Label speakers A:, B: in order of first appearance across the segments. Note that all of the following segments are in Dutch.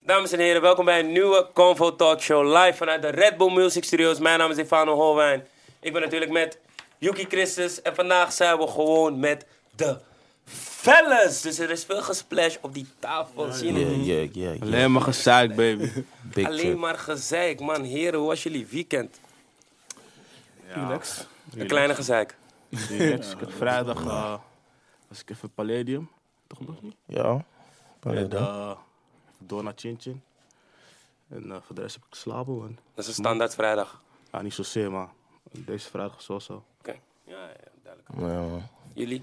A: Dames en heren, welkom bij een nieuwe Convo Talk Show live vanuit de Red Bull Music Studios. Mijn naam is Ivano Holwijn. Ik ben natuurlijk met Yuki Christus en vandaag zijn we gewoon met de fellas. Dus er is veel gesplash op die tafel. Zien jullie?
B: Mm-hmm.
C: Yeah, yeah, yeah, yeah.
D: Alleen maar gezaakt, baby.
C: Big
A: Alleen
D: eh,
C: trip.
A: maar gezeik. Man, heren, hoe was jullie weekend?
D: Relax.
A: Een kleine gezeik.
D: Relax. Ik had vrijdag eh, was ik even Palladium. Toch nog niet?
C: Ja.
D: En,
C: Pardon.
D: eh, door naar Chin Chin. En eh, voor de rest heb ik geslapen, man.
A: Dat is een standaard vrijdag.
D: Ja, niet zozeer, maar deze vrijdag zo zo.
A: Oké. Ja, ja, duidelijk.
C: Ja, man.
A: Jullie?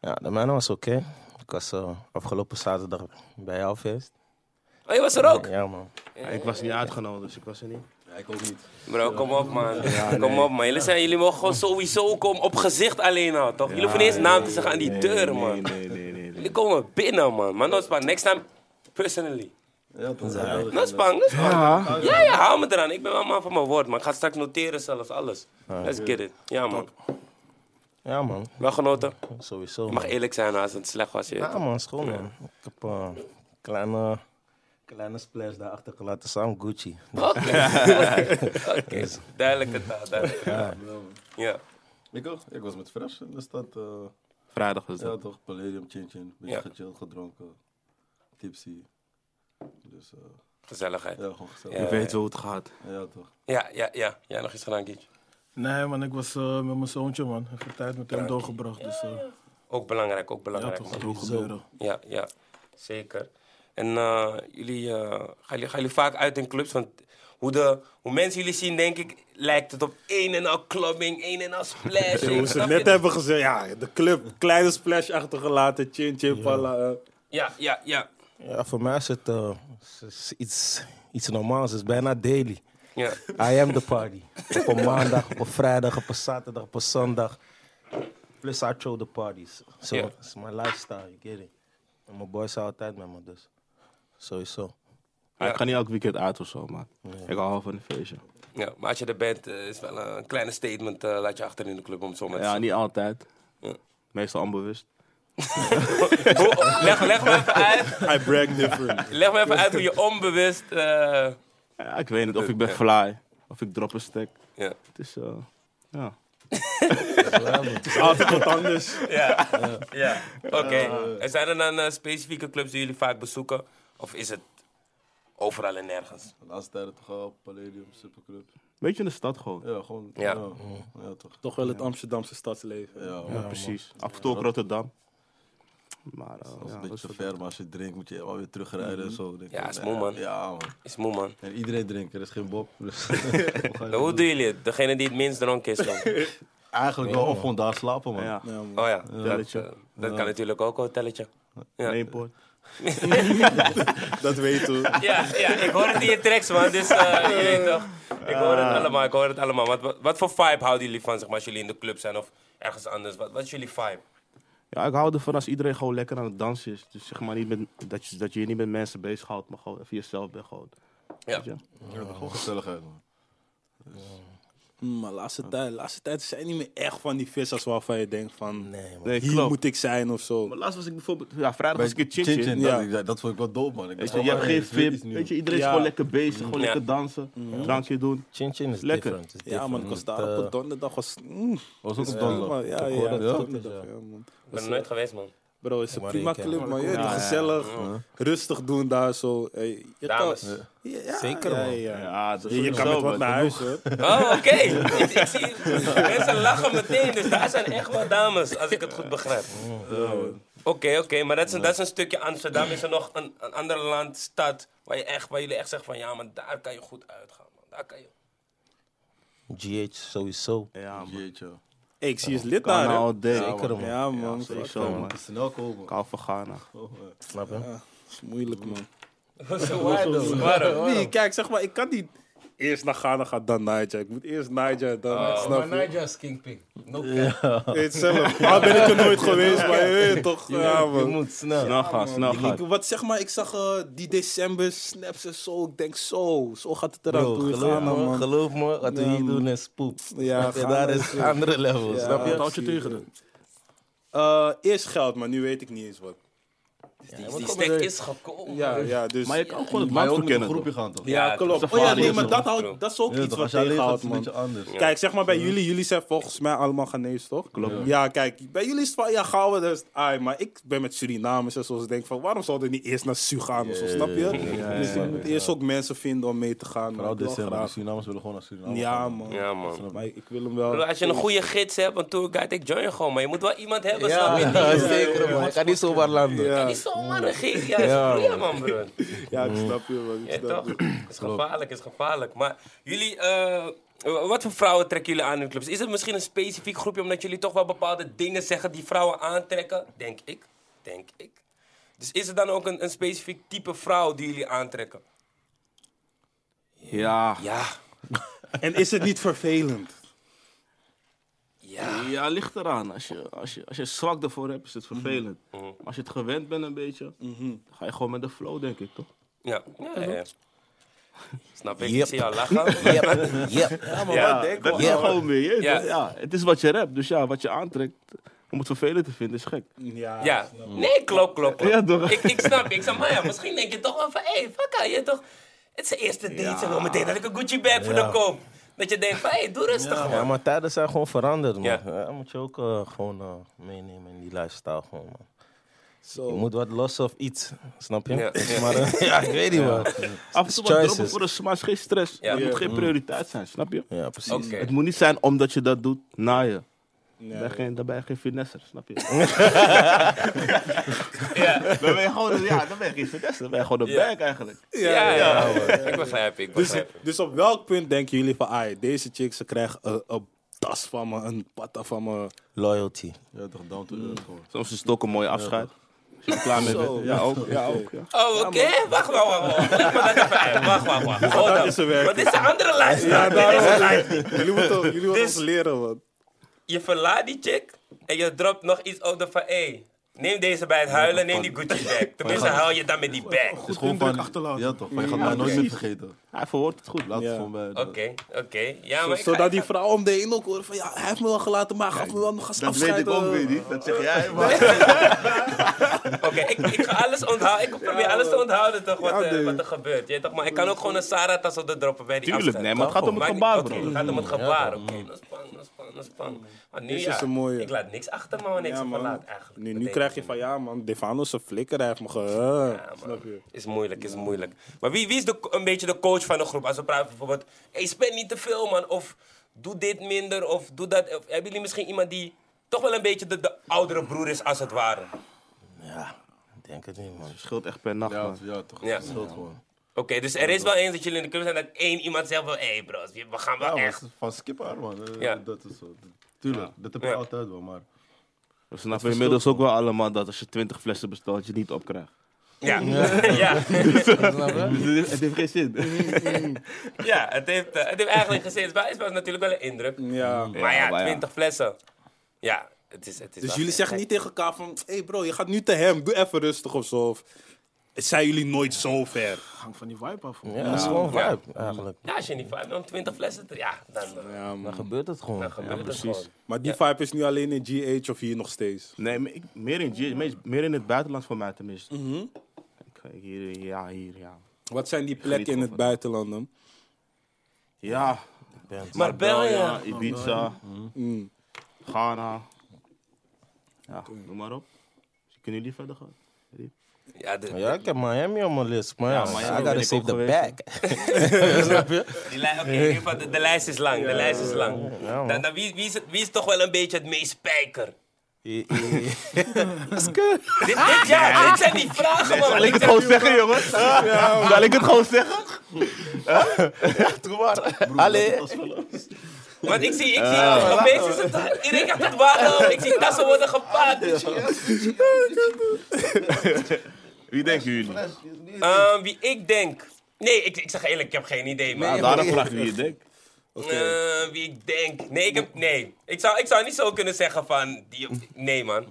C: Ja, de mijne was oké. Ik was eh, afgelopen zaterdag bij jou feest.
A: Oh, je was er ook?
C: Ja, man.
D: ik was niet uitgenodigd, dus ik was er niet.
A: Bro, kom op man. Kom op man. Jullie, zijn, jullie mogen gewoon sowieso komen op gezicht alleen al, toch? Jullie hoeven niet eens naam te zeggen aan die deur, man.
D: Nee, nee, nee. nee.
A: Jullie komen binnen, man. Maar nooit Next time, personally. Ja, dat is bang. dat is bang. Ja. ja, hou me eraan. Ik ben wel man van mijn woord, man. Ik ga straks noteren zelfs, alles. Let's get it. Ja, man.
C: Ja, man.
A: Wel genoten.
C: Sowieso.
A: Je mag
C: man.
A: eerlijk zijn als het slecht was. Je. weet
C: Ja,
A: toch?
C: man. Schoon, man. Ik heb een kleine, kleine splash daarachter gelaten. Samen Gucci.
A: Oké, Oké. duidelijke taal, duidelijke taal. Ja,
E: Ik ook. Ik was met Fresh in de stad. eh,
D: Vrijdag was
E: ja,
D: dat.
E: toch? Palladium, Chin Chin. Beetje
A: Ja.
E: gechilled, gedronken. Tipsy. Dus eh,
A: gezelligheid.
E: ja, gewoon gezellig.
A: Ja.
E: Ja,
D: Je weet hoe het gaat.
E: toch?
A: Ja, ja, ja. Jij nog iets gedaan, Kietje?
B: Nee, man, ik was eh, met mijn zoontje, man. Even tijd met hem doorgebracht. Dus eh,
A: Ook belangrijk, ook
B: ja,
A: belangrijk.
B: toch,
A: man.
B: het ook gebeuren.
A: Ja, ja, zeker. En eh, jullie, eh, gaan, jullie, gaan jullie vaak uit in clubs? Want hoe, de, hoe mensen jullie zien, denk ik, lijkt het op één en al clubbing, één en al splash. Ik
F: Hoe ze
A: snap
F: het net
A: je?
F: hebben gezegd, ja, de club, kleine splash achtergelaten, chin chin, pala. eh.
A: Ja, ja, ja.
C: Ja, voor mij is het eh, is- is iets, iets normaals. Het is bijna daily.
A: ja.
C: I am the party. op een maandag, op een vrijdag, op een zaterdag, op een zondag. Plus I throw the parties. So,
A: Ja.
C: it's my lifestyle, you get it. En mijn boys zijn altijd met me, dus sowieso.
D: Maar Ik ga niet elk weekend uit of zo, maar ik hou wel van een feestje.
A: ja. Maar als je er bent, eh, is wel een kleine statement. eh, laat je achter in de club om het zo maar te
D: Ja,
A: zeggen.
D: niet altijd.
A: Ja.
D: Meestal onbewust.
A: Hoe- leg, leg me even uit,
F: I brag different.
A: leg me even uit hoe je onbewust... eh,
D: Ja, ik weet niet of ik ben fly, of ik drop een stek.
A: ja.
D: Het is, eh, ja.
F: Altijd wat anders.
A: Ja, ja. oké. En zijn er dan eh, specifieke clubs die jullie vaak bezoeken? Of is het overal en nergens?
E: De laatste tijden toch al Palladium, Superclub.
D: Beetje in de stad gewoon.
E: Ja, gewoon.
A: Ja.
E: Ja, ja, toch?
F: Toch wel het Amsterdamse stadsleven.
E: Ja,
D: Ja, precies. Af en toe ook Rotterdam. Maar eh,
E: Dat is
D: ja,
E: een
D: dat is
E: beetje te ver, maar als je drinkt moet je wel weer terugrijden en zo. Denk ik,
A: Ja, is
E: nee,
A: moe, man.
E: Ja, man.
A: Is moe, man.
E: En iedereen drinkt, er is geen bob. Dus, Hoe ga je dat
A: Nou, hoe
E: doen?
A: doen jullie het? Degene die het minst dronken is dan?
E: Eigenlijk wel, of gewoon daar slapen, man.
D: ja,
F: Ja, man.
A: Oh ja, dat,
D: Telletje.
A: eh, dat kan natuurlijk ook, een telletje. Ja.
D: één poort.
F: Dat weet je.
A: Ja, ja, ik hoor het in je tracks, man. Dus eh, je weet toch. Ik hoor het allemaal, ik hoor het allemaal. Wat, wat, wat voor vibe houden jullie van, zeg maar, als jullie in de club zijn of ergens anders? Wat, wat is jullie vibe?
D: Ja, ik hou ervan als iedereen gewoon lekker aan het dansen is. Dus zeg maar niet met, dat, je, dat je je niet met mensen bezighoudt, maar gewoon even jezelf bent gewoon.
A: Ja.
D: Weet je?
E: Ja, gewoon gezelligheid, man.
F: Mm, Maar laatste tijd, laatste tijd zijn niet meer echt van die vissers waarvan je denkt van,
C: Nee, man.
D: Nee,
F: hier
D: klopt.
F: moet ik zijn of zo.
D: Maar laatst was ik bijvoorbeeld, ja, vrijdag was ik in Chin Chin.
E: dat-
F: ja.
E: ik zei, Dat, vond ik wel dope, man. Ik
D: Weet
E: dacht,
D: je, je
E: oh,
D: hebt
E: man,
D: geen
E: dit is weer
D: VIP.
E: iets nieuws.
D: Weet je, iedereen is
F: Ja.
D: gewoon lekker bezig, gewoon
A: Ja.
D: lekker dansen, drankje doen.
C: Chin Chin is
D: Lekker.
C: different. is
F: Ja, man, ik
C: different.
F: was
C: Het,
F: daar op
C: eh,
F: een donderdag. Was, mm,
E: Was ook
F: is
E: een
F: prima.
E: donderdag.
F: Ja,
E: Ik
F: ja,
E: hoorde het, ja.
F: donderdag, ja, man.
A: Ik ben er nooit geweest, man.
F: Bro, is een
C: Maar
F: prima
C: ik, hè.
F: club, man. Ja,
D: Ja, ja.
F: gezellig, rustig doen daar zo. Hey, je kan-
A: Dames.
F: Ja, ja,
C: Zeker,
F: ja,
C: man.
F: ja.
D: Ja, dat
F: Je, je kan met wat naar huis, hoor.
A: Oh, oké. ik, ik zie, mensen lachen meteen, dus daar zijn echt wel dames, als ik het goed begrijp. Oké, oké, maar dat is, een, dat is een stukje Amsterdam. Is er nog een, een ander land, stad, waar, je echt, waar jullie echt zeggen van, ja, maar daar kan je goed uitgaan, man. Daar kan je...
C: GH sowieso.
D: Ja, man.
E: Jeetje.
F: Hey, ik zie je lid daar,
D: Ghana
F: hè.
D: all day.
C: Zeker, man.
F: Ja, man.
D: Zeker
F: fuck,
D: zo, man.
E: Het is snel komen.
D: Ik hou van Ghana.
C: Snap je?
F: dat is moeilijk, man.
A: Zo waarom? Waarom?
F: Nee, kijk, zeg maar, ik kan niet eerst naar Ghana gaan, dan Niger. Ik moet eerst Niger, dan...
C: Oh,
F: snap je?
G: Just Kingpin. No
F: Weet je zelf. Al ben ik er nooit geweest, maar je weet toch. Ja,
C: Je
F: man.
C: moet snel.
D: Snel gaan, snel
F: Ik,
D: gaan.
F: wat zeg maar, ik zag eh, die december snaps en zo. Ik denk zo, zo gaat het eraan
C: Bro,
F: toe. in
C: geloof,
F: Ghana,
C: me,
F: man.
C: geloof me, wat we
F: Ja,
C: hier
F: man.
C: doen is poep.
F: Ja,
C: Snap je?
F: Ghana
C: daar
F: is
C: is
F: goed.
C: andere
D: Eh,
C: level, snap je?
B: Wat houd je tegen dan?
F: Eh, eerst geld, maar nu weet ik niet eens wat.
A: Die, die stek is gekomen.
F: Ja, ja, dus...
D: Maar je kan gewoon het
E: Maar je
D: land
E: ook met een
D: verkennen.
E: groepje
D: toch?
E: gaan, toch?
A: Ja,
F: Ja, klopt. Oh
D: safari
F: ja, nee,
D: is
F: maar
D: een
F: dat,
A: land,
F: houdt, dat is ook
E: Ja,
F: iets
E: toch,
F: wat
E: Als je alleen gaat, is
F: tegenhoudt,
E: het een
F: man.
E: beetje anders.
F: Kijk, zeg maar bij jullie, jullie zijn volgens mij allemaal Ghanese, toch? Klopt. Ja, kijk, bij jullie is het van, ja, gaan we dus. Ai, maar ik ben met Surinamers en zo. dus Ik denk van, waarom zouden we niet eerst naar Su gaan of zo, snap je? dus je moet eerst ook mensen vinden om mee te
E: Vooral
F: gaan. man. Ik wil
E: december. De
F: graag-
E: Surinamers willen gewoon naar Suriname.
F: Ja,
E: gaan.
F: man.
A: Ja, man.
F: Maar ik ik wil hem wel.
A: Bro, als je een goede gids hebt, een tourguide, ik join je gewoon. Maar je moet wel iemand hebben, snap je?
C: Ja, zeker man. Ik kan niet zomaar landen.
A: Die
F: Ja,
A: is zomaar een gids. Ja, is een goeie man, bro.
F: ja, ik snap je, man. Ik
A: Ja,
F: snap
A: toch?
F: je.
A: is gevaarlijk, is gevaarlijk. Maar jullie, eh, wat voor vrouwen trekken jullie aan in clubs? Is het misschien een specifiek groepje omdat jullie toch wel bepaalde dingen zeggen die vrouwen aantrekken? Denk ik, denk ik. Dus is er dan ook een, een specifiek type vrouw die jullie aantrekken?
D: Ja.
A: Ja,
F: En is het niet vervelend?
A: ja.
D: Ja, ligt eraan. Als je, als, je, als je zwak daarvoor hebt, is het vervelend. Maar als je het gewend bent een beetje, dan ga je gewoon met de flow, denk ik, toch?
A: Ja, ja, ja, ja. Snap ik, ik
C: Yep.
A: zie jou lachen.
C: Yep, yep.
D: Ja, maar
A: Ja,
D: dat is
C: Ja.
D: gewoon mee. hè?
A: Ja.
D: Ja. het is wat je rapt. Dus ja, wat je aantrekt, om het vervelend te vinden, is gek.
F: Ja.
A: Ja, nee, klopt, klopt. klopt.
D: Ja, toch?
A: Ik, ik snap, je. ik snap, maar ja, misschien denk je toch wel van, hé, hey, fuck haar, je toch... Het is de eerste date, ze wil meteen dat ik een Gucci bag voor de koop. Dat je denkt van, hé, hey, doe rustig, man.
C: Ja, maar tijden zijn gewoon veranderd, man.
A: Ja.
C: Ja. moet je ook eh, gewoon eh, meenemen in die lifestyle, gewoon, man.
F: Zo.
C: Je moet wat lossen of iets, snap je?
A: Ja, ja.
C: Maar eh, ja, ik weet niet, man.
D: Af en toe wat droppen
C: choices.
D: voor een smash, geen stress.
A: Ja.
D: Het moet geen prioriteit zijn, snap je?
C: Ja, precies.
A: Oké.
D: Het moet niet zijn omdat je dat doet na je.
F: Ja.
D: Daar ben geen, dan ben je geen finesser, snap je? Dan ben je gewoon, ja, dan ben je geen finesser. Dan ben je gewoon een
A: Ja.
D: bank eigenlijk.
A: Ja, ja, ja, ik begrijp, ik
F: Dus,
A: begrijp.
F: dus op welk punt denken jullie van, ai, deze chick, ze krijgt een, een tas van me, een patta van me.
C: Loyalty.
E: Ja, toch down to earth gewoon.
D: Soms is het ook een mooie afscheid. Als je er klaar mee bent. Ja, ook. Ja, ook ja.
A: Oh, oké, wacht, wacht, wacht, wacht. Leg maar dat even uit. Wacht, wacht, wacht. Hold
F: dat
A: up.
F: is zijn werk.
A: Want dit is een andere lijst. dit is een lijst.
F: jullie moeten, jullie moeten
A: Dus-
F: ons leren, man.
A: Je verlaat die chick en je dropt nog iets op de van, hé, hey, neem deze bij het huilen, neem die Gucci bag. Tenminste, huil je dan met die bag. Oké,
E: Het is gewoon
B: indruk
E: van...
B: achterlaten.
E: Ja, toch. Van, je gaat mij nooit meer vergeten.
D: Hij verwoordt het eh, goed.
E: Laat het
F: Ja.
E: gewoon bij.
A: oké. Ja, maar ik ga-
F: Zodat die vrouw om de heen ook hoort van, ja, hij heeft me wel gelaten, maar hij gaf me wel nog eens afscheid. eh.
E: niet. Dat zeg jij, maar...
A: Oké, ik, ik ga alles onthouden. Ik probeer alles te onthouden toch, wat, eh,
F: nee.
A: wat er gebeurt. Weet je toch? Maar ik kan ook gewoon een Sarah-tas op de droppen bij die
D: Tuurlijk,
A: afstand,
D: nee, maar het
A: toch?
D: gaat om het
A: Maakt
D: gebaar,
A: niet-
D: bro.
A: Oké, het gaat om het gebaar. Oké, dat is spannend, dat is spannend, dat is spannend. Maar nu
F: Mm. Dit
A: ja,
F: is een mooie.
A: ik laat niks achter me wanneer ik ze
F: man.
A: verlaat eigenlijk.
F: Nu,
A: Dat
F: nu
A: denk
F: krijg
A: ik.
F: je van, ja man, Devano is een flikker, hij heeft me ge...
A: Ja, man.
F: Snap je?
A: Is moeilijk, is moeilijk. Maar wie, wie is de, een beetje de coach van de groep? Als we praten bijvoorbeeld, hey, spend niet te veel man, of doe dit minder, of doe dat. Of, hebben jullie misschien iemand die toch wel een beetje de, de oudere broer is als het ware?
C: Ja, ik denk het niet, man.
D: Het scheelt echt per nacht,
E: Ja,
D: man.
E: het- ja, toch.
A: Ja.
E: Het scheelt gewoon.
A: Oké, dus er is wel eens dat jullie in de club zijn dat één iemand zegt van... Hé hey bro, we gaan wel
E: Ja, maar
A: echt...
E: het is van skip haar, man. Eh,
A: Ja.
E: Dat is zo. Tuurlijk, dat heb je
A: Ja.
E: altijd wel, maar...
D: We snappen inmiddels ook wel allemaal dat als je 20 flessen bestelt, je het niet opkrijgt.
A: Ja, ja. ja.
D: Dus het heeft geen zin.
A: het, heeft, eh, het heeft eigenlijk gezin. Maar het was natuurlijk wel een indruk.
F: Ja.
A: maar ja,
D: maar ja.
A: 20 flessen. Ja, het is... Het is
F: Dus
A: wel
F: jullie
A: gek.
F: zeggen niet tegen elkaar van, hé hey bro, je gaat nu te hem, doe even rustig of zo. Of, zijn jullie nooit zo ver?
B: Hang van die vibe af.
C: Ja, dat is gewoon vibe, eigenlijk.
A: Ja, Mm. als je niet vijf om 20 flessen... te- Ja, dan, eh,
C: Dan gebeurt het gewoon.
A: dan gebeurt het
D: precies.
A: gewoon.
F: Maar die vibe is nu alleen in GH of hier nog steeds?
D: Nee, maar ik- meer, in, G- meest- meer in het buitenland voor mij tenminste. Ik- ik- hier, ja, hier, ja.
F: Wat zijn die plekken in het buitenland dan?
D: Ja,
A: Marbella.
D: Marbella, Ibiza, Mhm. Ghana. Ja, noem maar op. Dus kunnen jullie verder gaan?
A: Ja, de-
C: Ja, ik heb Miami op mijn list, maar ja,
D: Miami
C: I
D: ben
C: gotta
D: ik
C: save
D: ook
C: the
D: geweest.
C: bag.
A: die lij- oké, in ieder geval, de, de lijst is lang. De lijst is lang. dan, dan, wie, wie, is, het- wie is toch wel een beetje het meest spijker? Dit, dit, ja, dit zijn die vragen, man.
D: Zal ik
A: Ik
D: het
A: zeg-
D: gewoon zeggen, jongens? Zal ik het gewoon zeggen?
C: Allee,
A: Want ik zie, ik zie, de meeste is het, iedereen gaat het water, ik zie tassen worden gepaard.
D: Wie denken jullie?
A: Ehm, wie ik denk, nee, ik, ik zeg eerlijk, ik heb geen idee, man.
D: Ah, daarom vraag ik wie je denkt.
A: Ehm, wie ik denk, nee, ik, heb, nee. Ik, zou, ik zou niet zo kunnen zeggen van, die, nee man.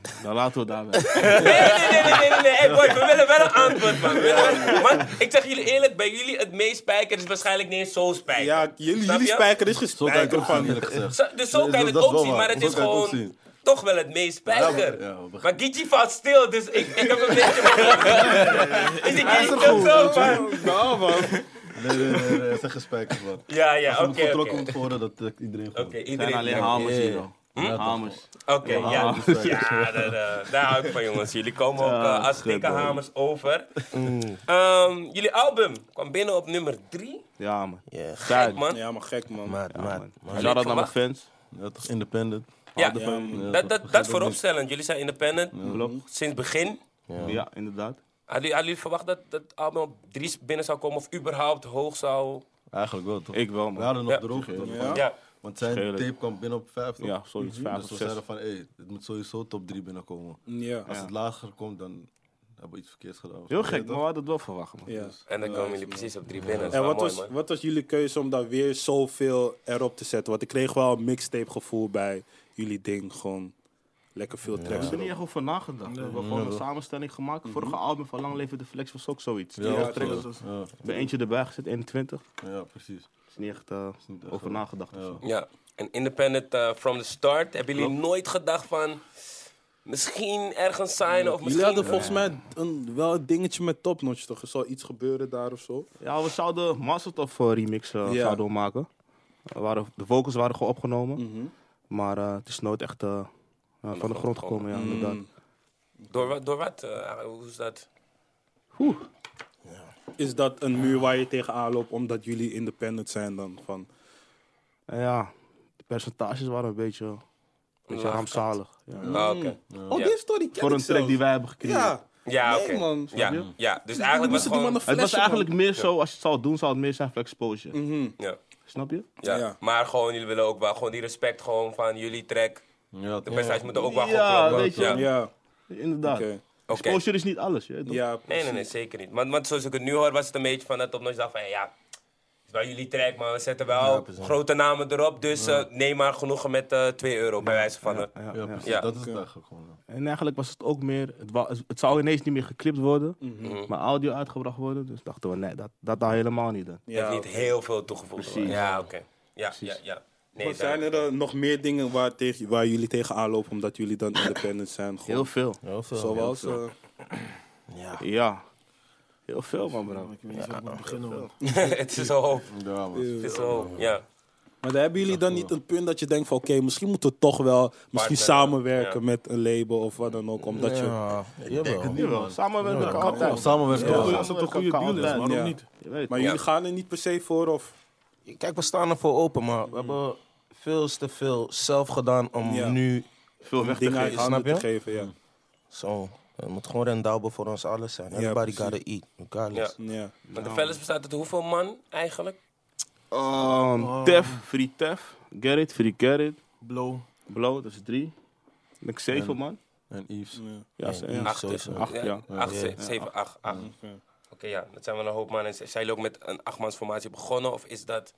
D: Dan Nou, laten we het daarbij.
A: Nee, nee, nee, nee, nee, nee, nee. Hey, boy, we willen wel een antwoord, man. We willen wel- man, ik zeg jullie eerlijk, bij jullie het meest spijker is waarschijnlijk niet eens zo spijker.
F: Ja, jullie,
A: Snap
F: jullie
A: je?
F: spijker is
E: Zo kan ik
F: gespijker
E: het
F: van.
E: van, eerlijk gezegd.
A: Zo- dus zo
E: Nee,
A: kan je
E: dat-
A: het
E: dat is
A: ook
E: wel
A: zien,
E: waar.
A: maar het
E: Zo
A: is
E: kan je ook
A: gewoon...
E: zien.
A: toch wel het meest spijker.
E: Ja, ja, we begrijpen.
A: maar Gigi valt stil, dus ik, ik heb een beetje... Is die Gigi toch zo, maar...
F: Nou, man.
E: Nee, nee, nee, nee, zeg gespijkers, man.
A: Ja, ja,
E: Als
A: oké,
E: moet gewoon
A: oké.
E: trokken moet worden, dat trekt iedereen gewoon.
A: Oké,
D: zijn alleen
A: iedereen...
D: hamers hier, bro. Hamers.
A: Oké, ja. Ja, daar, eh, daar hou ik van, jongens. Jullie komen ook eh, als dikke hamers over.
F: Mm.
A: Ehm, jullie album kwam binnen op nummer 3.
D: Ja, man.
C: Ja,
A: Kijk, man.
F: Ja, maar gek, man.
C: maat, maat. maat.
D: Shout-out naar mijn fans.
E: Ja, toch independent.
A: Ja,
E: Ja,
A: dat, dat, dat vooropstellend. Jullie zijn independent.
D: Klopt.
A: Sinds begin.
D: Ja, inderdaad.
A: Hadden jullie- hadden jullie verwacht dat dat album op 3 binnen zou komen? Of überhaupt hoog zou...
E: Eigenlijk wel, toch?
D: Ik wel,
E: We
D: man.
E: hadden nog
A: Ja.
E: droog, toch?
A: Ja.
E: Van- Want zijn
D: Schelen.
E: tape kwam binnen op 5, toch?
D: Ja, zoiets. Vijf
E: Dus
D: of
E: we
D: zes.
E: zeiden van, hé, dit moet sowieso top 3 binnenkomen.
F: Ja.
E: Als het lager komt, dan hebben we iets verkeerds gedaan.
D: Heel gek, maar we hadden het wel verwacht, man.
F: ja.
A: En dan komen jullie precies op 3 binnen. Dat is
F: En
A: wel
F: wat
A: mooi,
F: was,
A: man.
F: wat was jullie keuze om daar weer zoveel erop te zetten? Want ik kreeg wel een mixtape gevoel bij jullie ding. Gewoon lekker veel
D: We
F: tracks
D: hebben er niet
F: erop.
D: echt over nagedacht. We hebben gewoon een samenstelling gemaakt. Vorige album van Lang Leven de Flex was ook zoiets. Ja,
E: Ja,
D: tracks.
E: toch? Ja,
D: We hebben eentje erbij gezet, 21.
E: ja, precies.
D: Is niet echt eh,
E: niet echt
D: over
E: wel.
D: nagedacht. of
E: Ja.
D: zo.
A: Ja, en independent eh, from the start. Hebben jullie nooit gedacht van... Misschien ergens signen of
F: Jullie
A: misschien...
F: hadden volgens mij een, wel een dingetje met topnotch, toch? Er zal iets gebeuren daar of zo.
D: Ja, we zouden Master of remix eh,
F: Ja.
D: zouden we maken. Er waren, de vocals waren gewoon opgenomen. Maar eh, het is nooit echt eh, eh, van de grond gekomen, Mhm. ja, inderdaad.
A: Door, wat- door wat? eh, hoe is dat?
F: Is dat een muur waar je tegenaan loopt omdat jullie independent zijn dan? Van,
D: En ja, de percentages waren een beetje, een beetje
A: Laag.
D: rampzalig. Ja.
A: Ah, oké.
F: oh,
A: Ja.
F: dit story ken
D: Voor
F: ik
D: een track
F: zelfs.
D: die wij hebben gekregen.
F: Ja,
A: Ja,
F: Nee,
A: oké.
F: man.
A: Ja, ja, dus eigenlijk was het
F: moesten die
A: gewoon...
F: mannen
D: Het was
F: flashen,
D: eigenlijk meer zo, als je het zou doen, zou het meer zijn voor exposure.
F: Mhm.
A: Ja,
D: Snap je?
A: ja.
F: Ja.
A: Maar gewoon, jullie willen ook wel gewoon die respect gewoon van jullie track.
E: Ja,
A: De
E: toch?
A: prestaties moeten ook wel
D: Ja,
A: gewoon kloppen.
D: weet je.
A: Ja.
F: man. Ja,
D: Inderdaad.
F: oké.
A: Oké.
D: Exposure is niet alles. Je, weet toch?
F: Ja,
A: Nee, nee, nee, zeker niet. Want, want zoals ik het nu hoor, was het een beetje van dat op nooit dacht van ja, het is wel jullie track, maar we zetten wel grote namen erop. Dus eh, neem maar genoegen met eh 2 euro bij wijze van. eh.
D: Ja,
E: Ja,
D: ja.
E: precies.
A: Ja.
E: Dat is het eigenlijk gewoon. ja.
D: En eigenlijk was het ook meer, het, wa- het zou ineens niet meer geklipt worden,
F: Mhm.
D: maar audio uitgebracht worden. Dus dachten we, nee, dat, dat daar helemaal niet. in.
A: heeft
F: ja.
A: niet heel veel toegevoegd.
D: Precies.
A: Ja, oké. Ja, ja, ja. Nee,
F: Maar zijn
A: duidelijk.
F: er eh, nog meer dingen waar, tegen, waar jullie tegenaan lopen omdat jullie dan independent zijn? Gewoon,
D: Heel veel.
E: Ja, zo.
F: Zoals... eh,
D: Ja. Heel veel, man, bro.
B: Ik weet niet waar ik moet beginnen, man.
A: het is zo hoop.
E: Ja, man.
A: Het is zo hoop. Ja.
F: Maar daar hebben jullie dan niet een punt dat je denkt van oké, misschien moeten we toch wel misschien samenwerken
A: ja.
F: met een label of wat dan ook. Omdat je,
C: Ja, jawel.
D: Jawel, samenwerken kan altijd.
E: Samenwerken.
D: Ja.
E: wel.
B: Als het een goede deal is, waarom
F: Ja.
B: niet?
D: Je weet.
F: maar
A: Ja.
F: jullie gaan er niet per se voor of...
C: Kijk, we staan ervoor open, maar we hebben veel te veel zelf gedaan om
F: Ja.
C: nu
D: veel weg te
F: dingen uit
D: geven.
F: handen
C: snap
F: te
C: je?
F: geven. Ja.
C: zo. Het moet gewoon rendabel voor ons alles zijn. Everybody gotta eat, regardless.
D: Hmm.
A: Ja.
F: Ja.
A: Want de Fellas bestaat uit hoeveel man eigenlijk?
D: Ehm, Tef, Free Tef. Gerrit, Free Gerrit.
B: Blow.
D: Blow, dat is drie. Ik denk zeven, man.
E: En Yves.
D: Ja, ze- ja.
C: Acht, sowieso.
D: Acht, ja.
A: eh,
D: Mm.
A: Acht, ze- zeven, acht, acht. Oké, ja, dat zijn wel een hoop mannen. Zijn jullie ook met een achtmansformatie begonnen? Of is dat...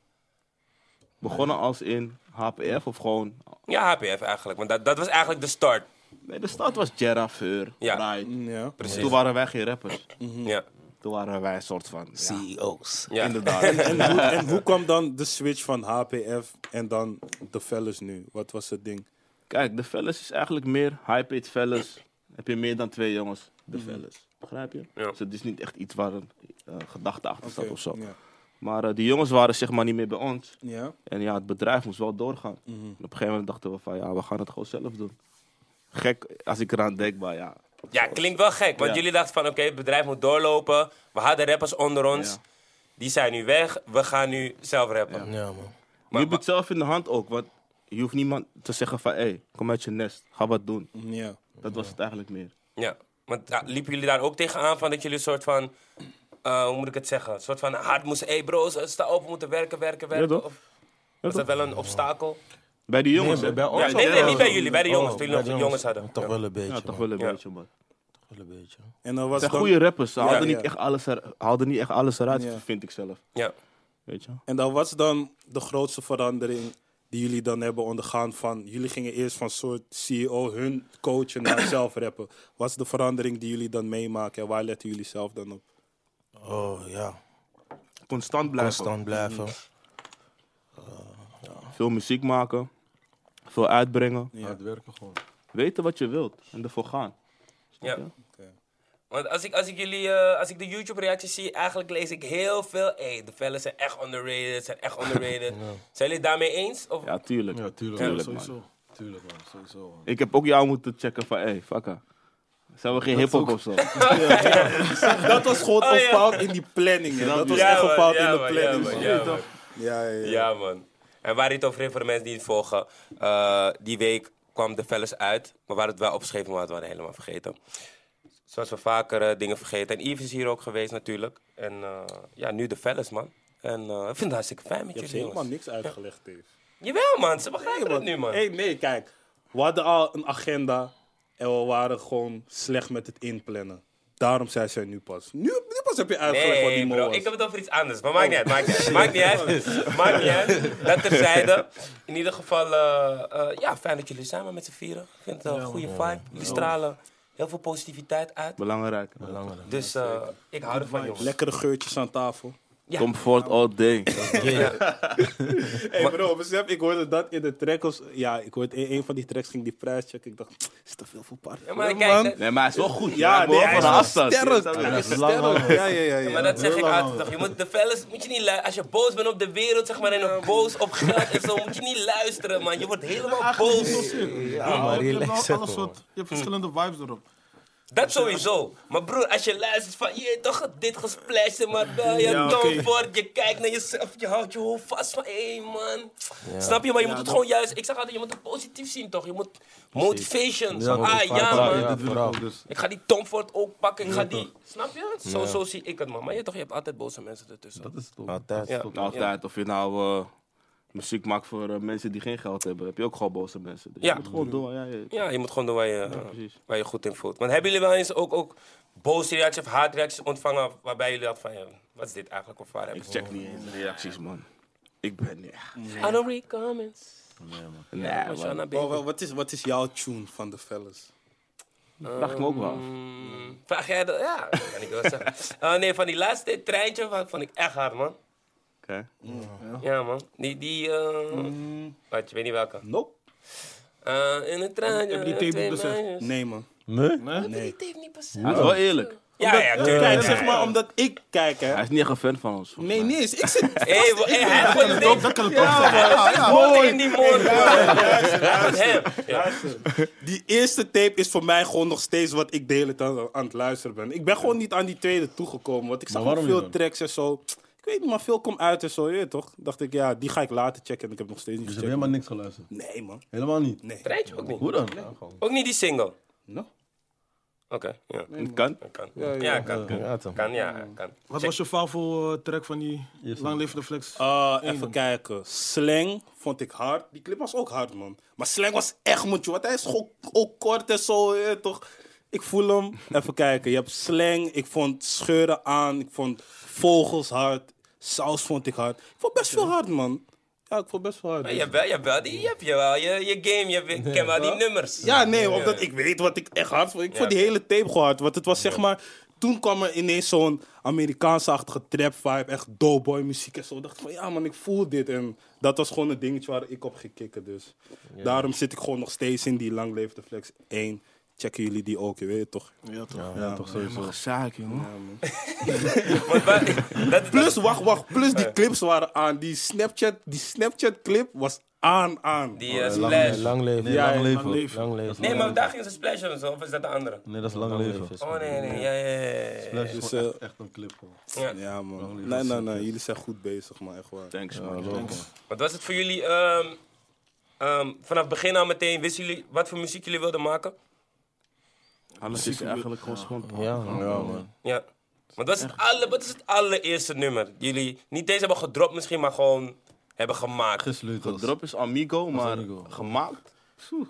D: Begonnen als in HPF of gewoon...
A: Ja, HPF eigenlijk. Want dat, dat was eigenlijk de start.
D: Nee, de stad was Jera, Fur,
A: Ja.
D: Pride.
F: Ja.
A: Precies.
D: Toen waren wij geen rappers.
A: Ja.
D: Toen waren wij een soort van... Ja,
C: E CEO's.
A: ja.
D: inderdaad.
F: En, hoe, en hoe kwam dan de switch van HPF en dan de fellas nu? Wat was het ding?
D: Kijk, de fellas is eigenlijk meer high-paid fellas. Heb je meer dan twee jongens, de fellas. Begrijp je?
A: Ja.
D: Dus het is niet echt iets waar een eh, gedachte achter staat of zo.
F: Ja.
D: Maar eh, die jongens waren zeg maar niet meer bij ons.
F: Ja.
D: En ja, het bedrijf moest wel doorgaan. En op een gegeven moment dachten we van ja, we gaan het gewoon zelf doen. Gek als ik eraan denk, maar ja.
A: ja, klinkt wel gek. Want
D: Ja.
A: jullie dachten van, oké, het bedrijf moet doorlopen. We hadden rappers onder ons.
D: Ja.
A: Die zijn nu weg. We gaan nu zelf rappen.
C: Ja, man.
D: je hebt het zelf in de hand ook, want je hoeft niemand te zeggen van hé, hey, kom uit je nest, ga wat doen.
F: ja.
D: Dat was het eigenlijk meer.
A: Ja. Want ja, liepen jullie daar ook tegenaan van dat jullie een soort van... eh, hoe moet ik het zeggen? Een soort van hard moesten... Hé hey bro's, eh, sta open, moeten werken, werken, werken.
D: toch?
A: of, was dat wel een obstakel?
D: Bij die jongens, hè?
C: bij
A: Ja,
C: ons
A: nee,
C: ook
A: nee,
C: wel.
A: niet bij jullie. Bij de jongens.
C: Oh,
A: Toen
C: bij
A: jullie nog de jongens hadden.
C: Toch
A: Ja.
C: wel een beetje,
D: ja,
C: man.
D: toch wel een
A: Ja.
D: beetje man.
C: Toch wel een beetje.
F: En dan was
D: Het
F: dan,
D: zijn goede rappers, ze haalden,
F: ja.
D: Niet echt alles er, haalden niet echt alles eruit,
F: Ja.
D: vind ik zelf.
A: Ja.
D: Weet je?
F: en dan was dan de grootste verandering die jullie dan hebben ondergaan van... Jullie gingen eerst van soort CEO hun coachen naar zelf rappen. Wat is de verandering die jullie dan meemaken en waar letten jullie zelf dan op?
C: Oh, ja.
D: Constant blijven.
C: Constant blijven.
D: Veel muziek maken, veel uitbrengen.
E: Hard werken gewoon.
D: weten wat je wilt en ervoor gaan.
A: Ja. Want als ik, als ik jullie, eh, als ik de YouTube-reacties zie, eigenlijk lees ik heel veel. Hé, de vellen zijn echt underrated, zijn echt underrated. Zijn jullie het daarmee eens? Of?
D: Ja, tuurlijk.
E: Ja, tuurlijk.
A: Ja,
E: tuurlijk,
D: sowieso.
E: man. Tuurlijk, man. Sowieso, man.
D: Ik heb ook jou moeten checken van, hey, fakka. Zijn we geen hip-hop of zo?
F: Dat was gewoon
A: Oh,
F: een
A: ja.
F: fout in die planning. hè. Dat was
A: Ja,
F: echt een
A: man,
F: fout
A: ja,
F: in de
A: man,
F: planning.
A: ja, man,
F: man.
A: ja, man.
F: Ja, ja, ja.
A: Ja, man. En waar het over heeft voor de mensen die het volgen. eh, die week kwam de Fellas uit. Maar waar het wel opgeschreven maar we hadden we helemaal vergeten. Zoals we vaker eh, dingen vergeten. En Yves is hier ook geweest natuurlijk. En eh, ja, nu de Fellas, man. En eh, ik vind het hartstikke fijn met
F: Je hebt
A: jullie, jongens.
F: helemaal niks uitgelegd, Dave.
A: Jawel, man. Ze begrijpen het nu, man.
F: Hey, nee, kijk. We hadden al een agenda en we waren gewoon slecht met het inplannen. Daarom zei zij nu pas. Nu, nu pas heb je uitgelegd wat die Oh.
A: Nee,
F: mol
A: bro,
F: was.
A: ik heb het over iets anders. Maar maakt niet uit, maakt niet uit. Maakt niet uit. maakt niet uit. Dat terzijde. In ieder geval, eh, eh, ja, fijn dat jullie samen met z'n vieren. Ik vind het een goede vibe. Jullie stralen heel veel positiviteit uit.
D: Belangrijk. man.
A: Dus eh, ik hou ervan, jongens.
F: Lekkere geurtjes aan tafel.
D: Comfort all day.
F: Hé hey bro, besef, ik hoorde dat in de track. Als, ja, ik hoorde in een van die tracks ging die prijscheck. Ik dacht, is te veel voor party.
A: Ja, maar
F: man.
A: kijk, eh, dat-
D: Nee, maar hij is wel goed.
F: Ja,
D: Ja,
F: nee,
D: nee,
F: hij
D: van
F: is
D: een afstand.
F: Sterk.
C: dat
F: Hij
C: is
F: is
C: lang
F: sterk. Ja, ja, ja. ja.
A: maar dat zeg ik altijd toch. Je moet de fellas, moet je niet lu- Als je boos bent op de wereld, zeg maar, en ook boos op geld en zo, moet je niet luisteren, man. Je wordt helemaal boos.
B: Ja,
C: maar
B: je hebt wel
C: relax,
B: alle
C: man.
B: soort, je hebt verschillende vibes erop.
A: Dat sowieso. Maar broer, als je luistert van, je hebt toch dit gesplashed, en maar wel, je
B: Ja,
A: ja,
B: oké.
A: je kijkt naar jezelf, je houdt je hoofd vast van, hé man. Snap je? Maar je moet het gewoon juist, ik zeg altijd, je moet het positief zien toch? Je moet motivation.
C: Ja,
A: ah
C: vooral,
A: ja
C: vooral,
A: man,
C: ja.
E: Dit wil ik
C: vooral.
E: ook dus.
A: ik ga die Tomford ook pakken, ik ga die, snap je? Zo, zo zie ik het man. Maar je, toch, je hebt altijd boze mensen ertussen.
E: Dat is het ook.
C: Altijd.
A: Ja.
D: Altijd. Of je nou eh, muziek maakt voor eh, mensen die geen geld hebben, heb je ook gewoon boze mensen. Dus
A: Ja.
D: je moet gewoon doen. Ja, ja.
A: Ja, je moet gewoon doen waar je,
D: precies.
A: waar je goed in voelt. Want hebben jullie wel eens ook, ook boze reacties of haatreacties ontvangen waarbij jullie dat van, ja, wat is dit eigenlijk of waar hebben
D: Ik check niet eens de reacties, man. Ik ben... Nee,
A: I don't read comments.
D: nee
A: Oh,
D: man.
A: Shanna
F: Wa-
A: Baby.
F: wa- wat, is, wat is jouw tune van de fellas?
D: Dat vraag ik me ook wel af.
A: Mm, Vraag jij dat? Ja, dat kan ik wel zeggen. Eh, nee, van die laatste treintje van, vond ik echt hard, man.
D: Oké.
A: Ja, man. Die, die, eh, wat, je weet niet welke.
F: Nope.
A: Eh, in een treintje.
B: Heb je die
A: met
B: tape
A: twee
B: niet beseft?
A: meisjes.
F: Nee, man.
A: Die tape niet beseft.
D: Hij is wel eerlijk.
A: Ja, ja, tuurlijk.
F: Kijk, zeg maar, omdat ik kijk, hè.
D: Hij is niet echt een fan van ons. volgens
F: Nee, nee, eens. ik zit
A: Hé, wa- hé, hij gooit het in.
B: Dat kan het toch zijn.
A: Hij gooit in die mond, man. Met hem. Ja.
F: Die eerste tape is voor mij gewoon nog steeds wat ik de hele tijd aan- aan het luisteren ben. Ik ben gewoon niet aan die tweede toegekomen. Want ik zag
E: Maar waarom
F: nog veel
E: niet dan?
F: tracks en zo. Ik weet niet, maar veel komt uit en zo, je weet toch? Dacht ik, ja, die ga ik later checken. En ik heb nog steeds niet
E: Dus je
F: gecheckt.
E: hebt helemaal niks geluisterd.
F: Nee, man.
E: Helemaal niet.
F: Nee.
A: Treintje ook niet.
E: Hoe dan?
A: Ook niet die single.
F: No.
A: Oké, ja.
D: mij. Het kan.
A: Dat kan. Ja, kan. kan.
C: Ja, toch.
A: Kan, ja, kan.
B: Wat was je favoriete track van die Lang Leven de Flex?
F: Eh, even kijken. Slang vond ik hard. Die clip was ook hard, man. Maar Slang was echt moedje. Want hij is gewoon ook kort en zo, je weet toch? Ik voel hem. Even kijken. Je hebt Slang. Ik vond Scheuren aan. Ik vond Vogels hard. Saus vond ik hard. Ik vond best veel hard, man. Ja, ik vond best veel hard.
A: Maar je hebt wel, je hebt wel, die, je hebt wel je, je game, je hebt- je kent wel die nummers.
F: Ja, nee, omdat ik weet wat ik echt hard vond. Ik vond die
A: oké.
F: hele tape gewoon hard. Want het was zeg maar... Toen kwam er ineens zo'n Amerikaanse-achtige trap vibe. Echt doughboy muziek en zo. Ik dacht van, ja man, ik voel dit. En dat was gewoon een dingetje waar ik op ging kicken dus. Daarom zit ik gewoon nog steeds in die Lang Leefde Flex 1. Checken jullie die ook, je weet het toch?
B: Ja, toch.
E: Ja, toch sowieso.
D: Gezaak, jongen.
A: Want waar- dat,
F: Plus, wacht, wacht. Plus die clips waren aan. Die Snapchat, die Snapchat clip was aan, aan.
A: die eh,
C: Oh, Lang,
A: splash.
C: lang leven.
F: Ja,
E: lang leven.
B: lang leven.
C: Lang leven.
A: Nee, maar daar ging ze splash of zo, of is dat de andere?
E: Nee, dat is lang
C: Lang
E: leven.
C: leven.
A: Oh nee, nee, ja, ja, ja, ja.
E: Dat is
F: Dus,
E: gewoon
F: eh,
E: echt- echt een clip gewoon.
A: ja.
F: Ja man. Nee, nee, nee. Jullie zijn goed bezig man, echt waar.
D: Thanks, man.
A: Wat was het voor jullie, ehm, ehm, vanaf begin aan meteen, wisten jullie wat voor muziek jullie wilden maken?
D: Alles is eigenlijk gewoon schoon.
C: Ja, man.
E: Ja, man.
A: Ja. Want wat is het, alle, wat is het allereerste nummer? Jullie niet eens hebben gedropt misschien, maar gewoon hebben gemaakt.
E: Gesleuteld.
D: Drop is Amigo, maar
E: Amigo.
D: gemaakt? Psoe.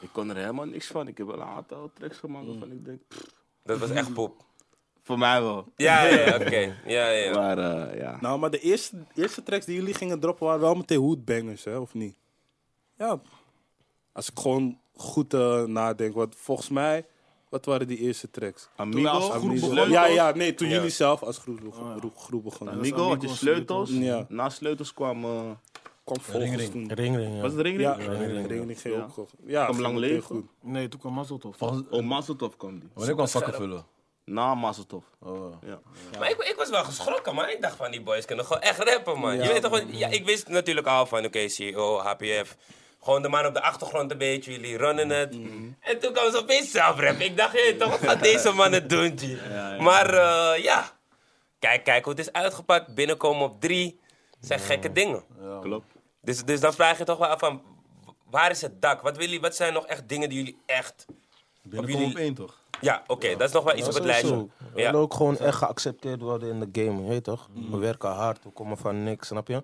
D: Ik kon er helemaal niks van. Ik heb wel een aantal tracks gemaakt waarvan ik denk... pff,
A: Dat was echt poep.
D: Voor mij wel.
A: Ja, ja, ja, oké. Ja, ja, ja.
D: Maar eh, ja.
F: Nou, maar de eerste, eerste tracks die jullie gingen droppen waren wel meteen hoedbangers, hè, of niet? Ja. Als ik gewoon goed eh, nadenk, want volgens mij, wat waren die eerste tracks?
D: Amigo,
F: Amnesia.
D: Sleutels.
F: Ja, ja, nee, toen
A: Ja.
F: jullie zelf als groep, groep, groep begonnen.
D: Amigo had je sleutels.
F: Ja.
D: Na sleutels kwam, eh,
F: kwam volgens toen.
C: Ring, ring, ja.
D: Was het ring
F: Ja,
D: ring?
F: Ringling ging
D: Ja.
F: ook goed. Ja,
D: Kwam
F: ging
D: lang
F: ook heel
D: leven.
F: goed.
B: Nee, toen kwam Mazzeltof.
E: Volgens-
D: Oh, Mazeltov kwam die.
E: Wanneer kwam zakken vullen?
D: Na Mazeltov.
E: Oh.
D: Ja.
A: Maar ik, ik was wel geschrokken, man. Ik dacht van, die boys kunnen gewoon echt rappen, man. je weet toch, wel- ja, ik wist natuurlijk al van, oké, E CEO, HPF. Gewoon de man op de achtergrond een beetje, jullie runnen het. En toen kwam ze opeens zelf rappen. Ik dacht, hé, toch, wat gaat deze man het doen, G? Maar eh, ja, kijk, kijk hoe het is uitgepakt. Binnenkomen op drie zijn gekke dingen.
D: Klopt.
A: Dus, dus dan vraag je toch wel af van, w- waar is het dak? Wat, willen, jullie- wat zijn nog echt dingen die jullie echt...
E: Binnenkom
A: jullie-
E: op één toch?
A: Ja, oké, dat is nog wel iets op het lijstje.
C: We
A: Ja. Mhm.
C: willen ook gewoon echt geaccepteerd worden in de game, je weet toch? We werken hard, we komen van niks, snap je?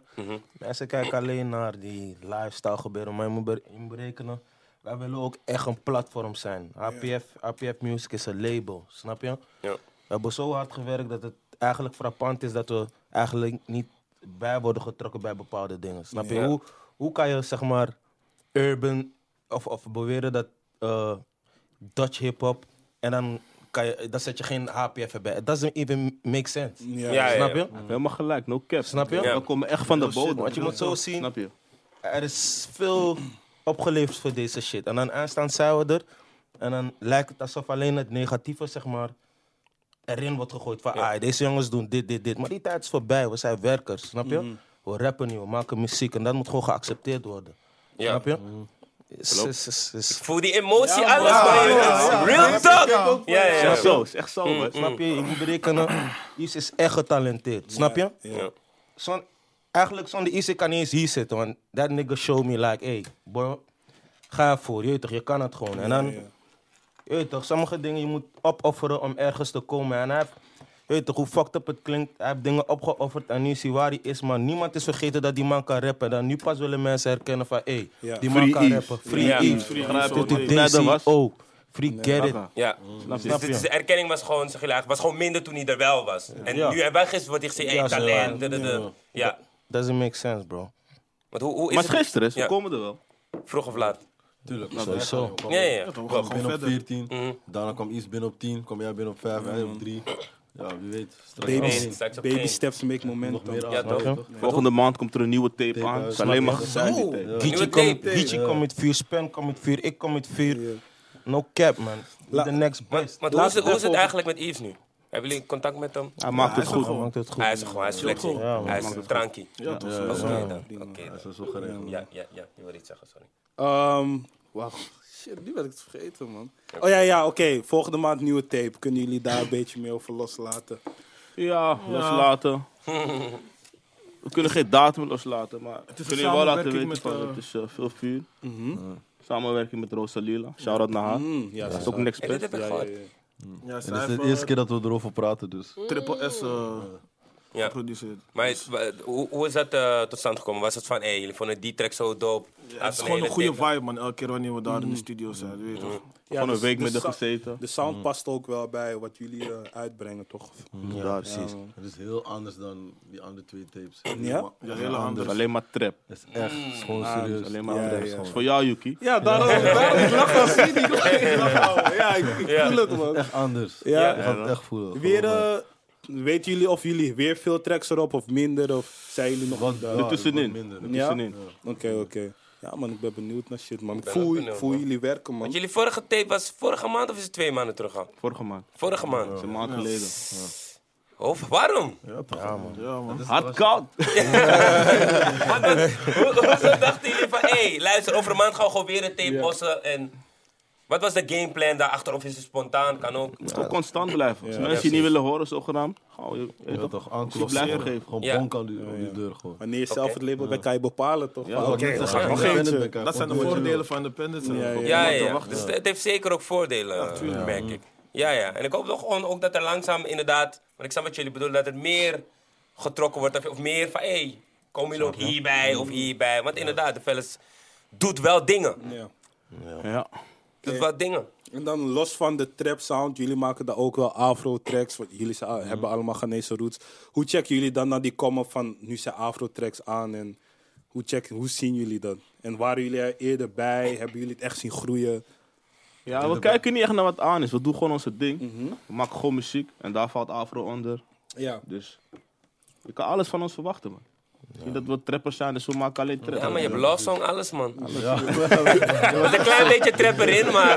C: Mensen kijken alleen naar die lifestyle gebeuren, maar je moet be- je moet berekenen. Wij willen ook echt een platform zijn. APF, APF Music is een label, snap je?
A: Ja.
C: We hebben zo hard gewerkt dat het eigenlijk frappant is dat we eigenlijk niet bij worden getrokken bij bepaalde dingen. Snap je?
A: Ja.
C: Hoe, hoe kan je zeg maar urban of, of beweren dat eh, Dutch hip-hop en dan, kan je, dan zet je geen HPF erbij? It doesn't even make sense.
F: Ja,
A: Ja, ja,
C: Snap
A: ja.
C: je?
D: Helemaal gelijk, no cap.
C: Snap je?
A: Ja.
D: We komen echt van de bodem.
C: Want je moet zo zien,
D: Snap je?
C: er is veel opgeleverd voor deze shit. En dan aanstaan zijn we er. En dan lijkt het alsof alleen het negatieve, zeg maar, erin wordt gegooid. Van, ah, deze jongens doen dit, dit, dit. Maar die tijd is voorbij. We zijn werkers, snap je? We rappen nu, we maken muziek. En dat moet gewoon geaccepteerd worden.
A: Ja.
C: Snap je? Is, is, is, is-
A: Voel die emotie, alles, man. Real talk. Ja, ja, ja. Mm,
D: Echt zo, is echt zo. man.
C: Snap je? Je moet berekenen, Yves is echt getalenteerd. Snap je?
A: Ja.
C: Zon, eigenlijk zonder Issy kan niet eens hier zitten. Want that nigga showed me like, hey, bro, ga ervoor. Je weet toch, je kan het gewoon. En dan, je weet toch, sommige dingen je moet opofferen om ergens te komen. En hij heeft, je weet toch, hoe fucked up het klinkt. Hij heeft dingen opgeofferd en nu is hij waar hij is. Maar niemand is vergeten dat die man kan rappen. Dan nu pas willen mensen herkennen van, hey,
F: Ja.
C: die man
D: Free
C: kan
D: Yves.
C: rappen. Free
A: Ja.
C: Yves.
D: Free Yves.
C: Tot die
D: Nee, dat was-
C: DCO. E Free get it.
D: Kaka.
A: Ja,
C: Snap
A: dus,
C: je?
A: dus de erkenning was gewoon, zeg je laag, was gewoon minder toen hij er wel was. En
C: Ja.
A: nu hij weg is, wordt hij gezien, hey,
C: Ja, zo,
A: talent,
C: ja.
A: da, da, da. Ja.
C: Doesn't make sense, bro.
A: Want hoe, hoe is
D: Maar
A: het
D: het is gisteren, ze
A: Ja.
D: komen er wel.
A: vroeg of laat?
E: Tuurlijk.
C: Sowieso.
A: Ja, ja, ja.
B: toch,
E: Ik kwam
B: gewoon
E: binnen op
B: verder.
E: 14. Daarna kwam Is binnen op 10. Kwam jij binnen op 5. Hij op 3. Ja, wie weet. Straks
F: Baby,
A: Nee,
E: nog-
A: straks op
F: baby
A: één.
F: steps make
E: nog
F: momentum.
E: meer
A: Ja,
E: aansluiten,
C: toch?
E: toch?
D: Volgende maand komt er een nieuwe tape
E: Tape
D: aan.
E: uit,
D: Het is
E: snap
D: alleen
E: je?
D: maar gezeik, die
F: Zo.
D: tape.
C: Geechee
A: Nieuwe
C: komt
A: tape.
C: Geechee komt met vuur, Span komt met vuur, ik kom met vuur. No cap, man.
F: La-
C: The next best.
A: Want hoe
F: Laat
A: is het,
F: het
A: hoe is het
F: even
A: eigenlijk met Yves nu? Hebben jullie contact met hem?
D: Hij maakt het goed.
C: Hij maakt het goed.
A: Hij is er gewoon, hij is flexie. hij is een trankie.
E: Ja, toch?
A: Oké
E: Ja, ja.
A: dan, oké
E: Dat
A: dan.
E: is wel geregeld.
A: Ja, ja, ja, je wil iets zeggen, sorry.
F: Ehm Wacht, shit, nu ben ik het vergeten, man. Oh ja, ja, oké. Volgende maand nieuwe tape. Kunnen jullie daar een beetje meer over loslaten?
D: Ja, loslaten. We kunnen geen datum loslaten, maar we
B: is
D: kunnen
B: een
D: je wel laten
B: samenwerking
D: weten
B: met,
D: van
B: eh,
D: het is eh, veel vuur. Samenwerking met Rosalila, shout-out naar haar.
F: Mm, ja,
D: Dat is
F: zo.
D: ook een
A: En dit
D: expert.
A: heb ik
F: Ja,
A: gehoord.
F: ja, ja.
B: Ja,
E: En
B: zij
E: dit is
B: heeft
E: de eerste
B: eh,
E: keer dat we erover praten, dus.
B: Triple S eh,
A: Ja.
B: geproduceerd.
A: Maar is- wa- hoe, hoe is dat eh, tot stand gekomen? Was het van, hé, jullie vonden die track zo dope?
B: Het is gewoon een goede vibe, man. Elke keer wanneer we daar
A: Mm.
B: in de studio zijn, weet je toch?
D: Gewoon een
F: dus-
D: week
F: dus
D: met haar
F: sa-
D: gezeten.
F: De sound past ook wel bij wat jullie eh, uitbrengen, toch?
D: Ja, precies.
E: Het is heel anders dan die andere twee tapes.
F: Ja?
B: Ja, hele
D: Dus
B: andere.
D: alleen maar trap.
E: Het is echt, het is gewoon serieus.
D: Alleen maar
F: Ja,
D: trap.
F: ja.
D: Dat is voor jou, Yuki.
F: Ja, daarom. daarom ik lach wel, zie je, ik lach- ik lach wel. Ja, ik, ik voel het, man.
E: Echt anders.
F: Ja.
E: Je gaat het echt voelen.
F: Weer,
E: Gewoon,
F: eh, weten jullie of jullie weer veel tracks erop of minder? Of zijn jullie nog...
E: Wat
F: daar?
E: ja,
D: Er tussenin.
E: wat minder.
D: Er tussenin.
F: Oké, oké. Ja, man, ik ben benieuwd naar shit, man. Ik
A: ben
F: voel,
A: ook
F: ik
A: benieuwd,
F: voel
A: man.
F: jullie werken, man.
A: Want jullie vorige tape was vorige maand of is het twee maanden terug al?
D: Vorige maand.
A: Vorige maand.
D: Een maand geleden.
A: Of waarom?
B: Ja, man.
D: Hard koud.
A: Maar dat- hoe- Hoezo dachten jullie van, hé, hey, luister, over een maand gaan we gewoon weer een tape bossen en... Wat was de gameplan daarachter? Of is het spontaan? Kan ook.
D: Het moet constant blijven. Als mensen je
A: precies.
D: niet willen horen, zogenaamd, gauw je. weet
E: Ja,
D: je toch?
E: toch, aankloppen.
D: Blijven geven.
E: Gewoon
A: Ja.
E: bonk aan die, aan die deur gewoon.
F: Wanneer je zelf
A: Oké.
F: het label bent, kan je bepalen, toch? Van, Oké,
E: dat
F: gaan we nog eentje.
B: Dat zijn de voordelen van independence.
A: Mm.
F: Ja, ja.
A: Ja, ja, ja. Dus het- het heeft zeker ook voordelen, merk ik. Ja, ja. En ik hoop toch gewoon ook dat er langzaam inderdaad... Want ik snap wat jullie bedoelen, dat het meer getrokken wordt. dat je- Of meer van, hé, hey, komen jullie ook hierbij
D: Mm.
A: of hierbij? Want inderdaad, de fellas doet wel dingen.
F: Ja.
D: Ja.
A: Doet wel dingen.
F: En dan los van de trap sound, jullie maken daar ook wel afro-tracks. want Jullie zijn- hebben allemaal Ghanese roots. Hoe checken jullie dan naar die komen van nu zijn afro-tracks aan? En hoe, check, hoe zien jullie dat? En waren jullie er eerder bij? Hebben jullie het echt zien groeien?
D: Ja, we kijken niet echt naar wat aan is. We doen gewoon onze ding. We maken gewoon muziek en daar valt Afro onder.
F: Ja.
D: Dus je kan alles van ons verwachten, man. Niet dat we trappers zijn, dus we maken alleen trappers.
A: Ja, maar je hebt love song, alles, man. Er was een klein beetje trapper in, maar...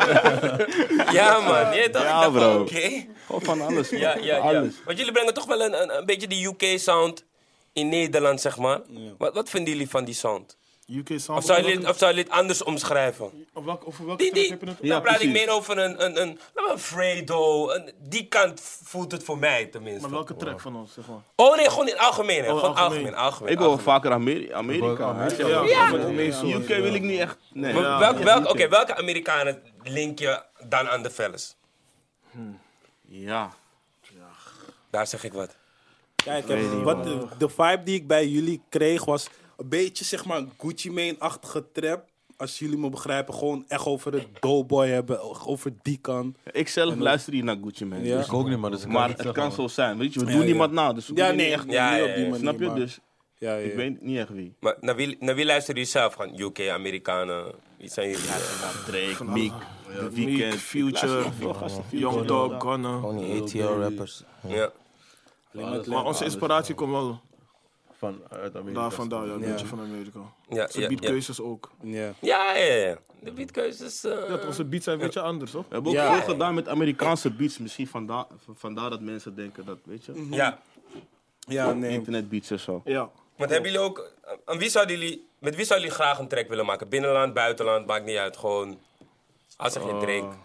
A: Ja, man. Je, toch?
D: Ja,
A: Ik dacht van,
D: bro.
A: Oké.
D: Gewoon van alles. man.
A: Ja, ja, ja.
D: Alles.
A: Want jullie brengen toch wel een, een, een beetje die UK-sound in Nederland, zeg maar. Wat, wat vinden jullie van die sound?
B: UK Sound.
A: Of zou jullie, het- of zou jullie het anders omschrijven?
B: Of welke, over welke
A: Die,
B: track
A: die,
B: heb je het?
A: dan praat ik
D: precies.
A: meer over een, een, een, een, een Fredo. Een, die kant voelt het voor mij
B: Maar
A: tenminste.
B: welke track van ons, zeg maar?
A: Oh nee, gewoon in het algemeen. hè.
B: Oh,
A: gewoon algemeen,
B: algemeen.
A: algemeen.
D: Ik wil wel
A: algemeen.
D: vaker Ameri- Amerika. hè.
B: Ja,
D: UK wil ik niet echt. Nee.
A: Maar welk, welk, oké, welke Amerikanen link je dan aan de fellas?
D: Ja.
A: Daar zeg ik wat.
F: Kijk, wat de, de vibe die ik bij jullie kreeg was een beetje zeg maar een Gucci Mane-achtige trap. Als jullie me begrijpen, gewoon echt over het doughboy hebben, over die kant.
D: Ik zelf luister hier naar Gucci Mane.
F: Ja.
D: dus-
E: Ik ook niet, maar dus ik
D: maar
E: niet
D: het
E: zeggen,
D: kan
E: man.
D: zo zijn. Weet je, we doen
F: ja.
D: niemand na. Dus we
F: Ja,
D: kunnen
F: nee,
D: niet echt.
F: echt niet
A: Ja, ja,
F: op die
A: ja.
F: manier.
D: Snap je?
F: maar-
D: Dus
F: Ja, ja.
D: ik weet niet echt wie.
A: Maar naar wie, naar wie luisteren jullie zelf? Gewoon UK, Amerikanen? Wie zijn jullie?
D: Drake, Meek, The
B: Meek,
D: Weeknd,
B: Future, Young Dog, Gunna.
C: Gewoon Oh, die ATL-rappers.
A: Ja.
B: Maar onze inspiratie komt wel
E: Van, uit Amerika.
B: daar vandaan, ja, een beetje van Amerika.
A: Ja,
B: Onze
A: ja, ja.
B: beatkeuzes ook.
F: Ja.
A: Ja, ja, ja. De beatkeuzes. eh,
B: Dat onze beats zijn een beetje anders, toch?
D: We hebben ook
F: Ja.
D: veel gedaan met Amerikaanse beats. Misschien vandaar, v- vandaar dat mensen denken dat, weet je.
A: ja.
F: ja, nee.
D: Internet beats en zo.
B: Ja.
A: Want hebben jullie ook. Aan wie zouden jullie, met wie zouden jullie graag een track willen maken? Binnenland, buitenland, maakt niet uit. Gewoon. Als er geen Drake.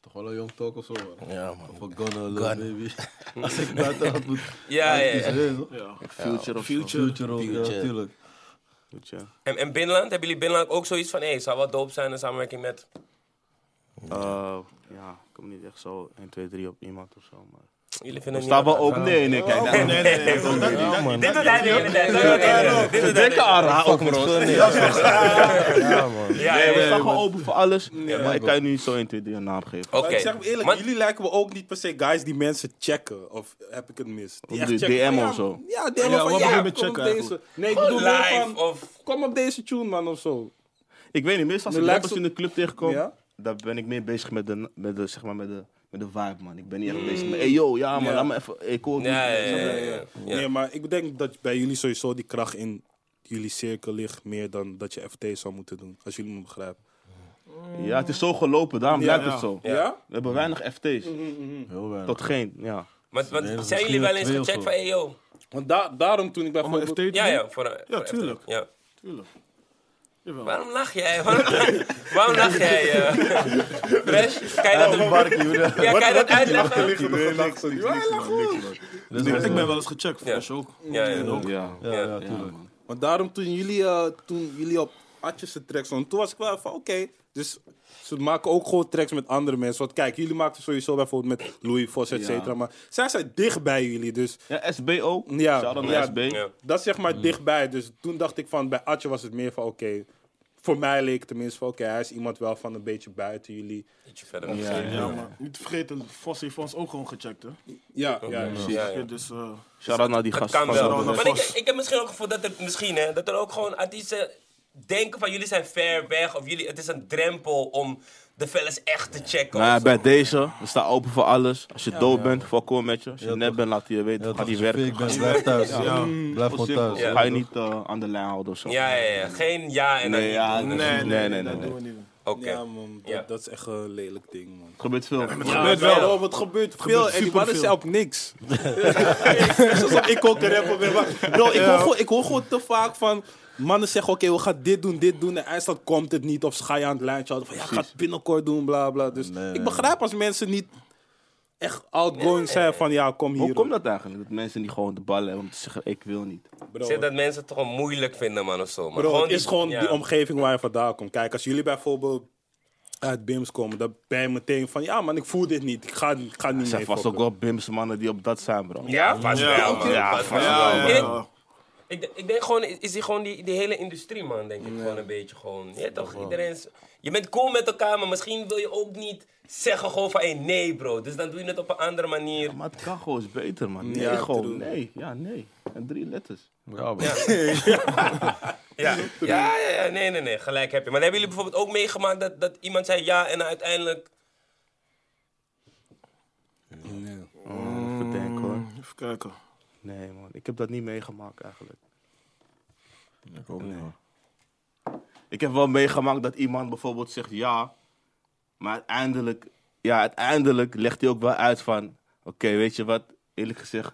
E: Toch wel een young talk of zo, man.
C: Ja, man.
E: Of een gun, little baby. Als ik buiten had moet...
A: Ja, ja, ja.
D: Future of Future.
E: Future ook, ja,
C: Future.
E: tuurlijk.
D: ja.
A: En, en binnenland, hebben jullie binnenland ook zoiets van. Hé, hey, zou wat doop zijn in samenwerking met.
D: Eh, ja, ik kom niet echt zo 1, 2, 3 op iemand of zo. Maar...
A: Jullie vinden
D: Sta
A: het
D: wel
A: niet.
D: op. Nee, nee, kijk. daar-
A: Dit doet hij de hele tijd. dat doet hij de hele tijd. Dit doet hij de hele
D: Denk
A: tijd.
D: aan haar ook, bro.
C: Ja, man.
A: Ja,
D: Nee,
A: ja,
D: we
A: ja.
D: staan gewoon open voor alles. Maar ik kan je nu niet zo 1, 2, 3 een naam geven.
F: Maar
A: Oké.
F: ik zeg me eerlijk,
A: Maar-
F: jullie lijken me ook niet per se guys die mensen checken. Of heb ik het mis?
D: Op
F: Die echt
D: de
F: checken van,
D: DM
F: ja,
D: of zo.
F: Ja, DM
B: Ja,
F: van
B: wat
F: ja,
B: bedoel je met
F: kom op
B: checken
F: deze.
B: eigenlijk?
F: Nee, ik
A: Gewoon
F: bedoel meer
A: live
F: van,
A: of.
F: kom op deze tune man of zo.
D: Ik weet niet, meestal als
F: Nu
D: ik
F: lijkt
D: rappers in
F: het-
D: de club tegenkom,
F: Ja?
D: dan ben ik meer bezig met de, met de, zeg maar, met de, met de vibe, man. Ik ben niet echt bezig met, hey yo, ja man,
F: Ja.
D: laat me even, hey, cool.
A: Ja, ja, ja, ja, ja. Ja.
F: Nee, maar ik denk dat bij jullie sowieso die kracht in jullie cirkel ligt. Meer dan dat je FT zou moeten doen. Als jullie me begrijpen.
D: Ja, het is zo gelopen, daarom
F: Ja,
D: lijkt
B: ja.
D: het zo.
F: Ja?
D: We hebben weinig FT's,
E: Heel weinig.
D: tot geen, ja.
A: Want, want
E: Nee, dat is
A: zijn
E: misschien
A: jullie wel eens
E: twee of
A: gecheckt
E: zo.
A: van, hey yo.
F: Want da- daarom toen ik bij
B: Allemaal FT.
F: bijvoorbeeld-
A: Ja, ja, voor een. voor een
B: tuurlijk.
A: FT. Ja.
B: Tuurlijk. Jawel.
A: Waarom lach jij? Waarom, waarom lach jij? eh? Fresh, kan je dat, ja, kan je dat eh, uitleggen?
B: Ik ben wel eens gecheckt,
A: Ja.
B: Fresh ook.
A: Ja, ja, ja.
D: Ja.
E: Ja, ja, tuurlijk.
F: Want daarom toen jullie, eh, toen jullie op Atjes tracks stonden, toen was ik wel van oké. Dus ze maken ook gewoon tracks met andere mensen. Want kijk, jullie maakten sowieso bijvoorbeeld met Louis Vos, et cetera. Maar zij zijn dicht bij jullie, dus
D: Ja, SB ook.
F: Ja.
D: Shout-out naar
F: Ja.
D: SB.
A: Ja.
F: dat is zeg maar dichtbij. Dus toen dacht ik van, bij Atje was het meer van oké. voor mij leek het tenminste van oké, hij is iemand wel van een beetje buiten jullie.
A: Ietsje verder.
B: Ja, maar niet te vergeten, Vos heeft ons ook gewoon gecheckt, hè?
F: Ja, ja, precies.
A: Ja, ja.
B: Ja, dus eh,
D: Shout-out naar die
A: Dat
D: gast.
A: kan wel.
B: Ronald
A: Maar ik,
B: Vos.
A: ik heb misschien ook het gevoel dat er, misschien, hè, dat er ook gewoon artiesten denken van jullie zijn ver weg. Of jullie, het is een drempel om de fellas echt te checken.
D: Maar
A: of zo.
D: bij deze, we staan open voor alles. Als je dood bent, volkomen met je. Als je
E: Ja,
D: net
E: toch.
D: bent, laat je weten.
E: Ja,
D: ga
E: toch,
D: die
E: als je fake Mm.
D: werken.
E: bent, Blijf thuis. Blijf gewoon thuis.
A: Ja.
D: Ga je niet eh, aan de lijn houden of zo.
A: Ja, ja, ja. Geen ja en dan
D: Nee,
A: niet.
D: ja,
B: nee,
D: nee, nee, nee,
B: dat
D: nee.
B: doen we niet.
A: Oké.
F: Ja, man, dat,
A: Ja.
F: dat is echt een lelijk ding, man.
D: Het gebeurt veel.
B: Het gebeurt wel.
F: Oh, wat gebeurt veel en die
B: superveel.
F: mannen zijn op niks. Zoals ik ook een rapper ben. maar- Bro, ik, hoor gewoon, ik hoor gewoon te vaak van... Mannen zeggen, oké, we gaan dit doen, dit doen. En eindstand komt het niet. Of ze ga je aan het lijntje houden van... Ja, ik ga het binnenkort doen, bla, bla. Dus
E: Nee, nee,
F: ik begrijp als mensen niet echt outgoing zijn van... Ja, kom hier.
D: Hoe komt dat eigenlijk? Dat mensen die gewoon de ballen hebben om te zeggen, ik wil niet.
F: Bro,
A: Zit dat mensen het gewoon moeilijk vinden, man, of zo. Man.
F: Bro, het
A: die-
F: is gewoon
A: ja.
F: die omgeving waar je vandaan komt. Kijk, als jullie bijvoorbeeld uit BIMS komen... Dan ben je meteen van... Ja, man, ik voel dit niet. Ik ga, ik ga
D: Er
F: niet
D: zijn
F: meer
D: vast ook wel Bims mannen die op dat zijn, bro.
A: Ja, vast wel, man.
D: Ja,
A: Vast
D: vast
A: wel.
D: wel.
A: Ik denk- Ik, denk- ik denk gewoon, is is die gewoon die, die hele industrie, man, denk ik. Gewoon een beetje gewoon. Je, weet toch, iedereen is- je bent cool met elkaar, maar misschien wil je ook niet zeggen gewoon van, hé, nee, bro. Dus dan doe je het op een andere manier.
D: Maar het kan gewoon eens beter, man. Nee,
F: Ja, te
D: gewoon.
F: doen.
D: Nee, ja, nee. En drie letters.
A: Ja. Ja, ja, ja, nee, nee, nee, gelijk heb je. Maar hebben jullie bijvoorbeeld ook meegemaakt dat, dat iemand zei ja en uiteindelijk...
D: Even denken, hoor.
A: Mm.
B: Even kijken.
D: Nee, man. Ik heb dat niet meegemaakt eigenlijk.
E: Ik hoop niet, man.
D: Ik heb wel meegemaakt dat iemand bijvoorbeeld zegt ja, maar uiteindelijk, ja, uiteindelijk legt hij ook wel uit van, oké, weet je wat, eerlijk gezegd,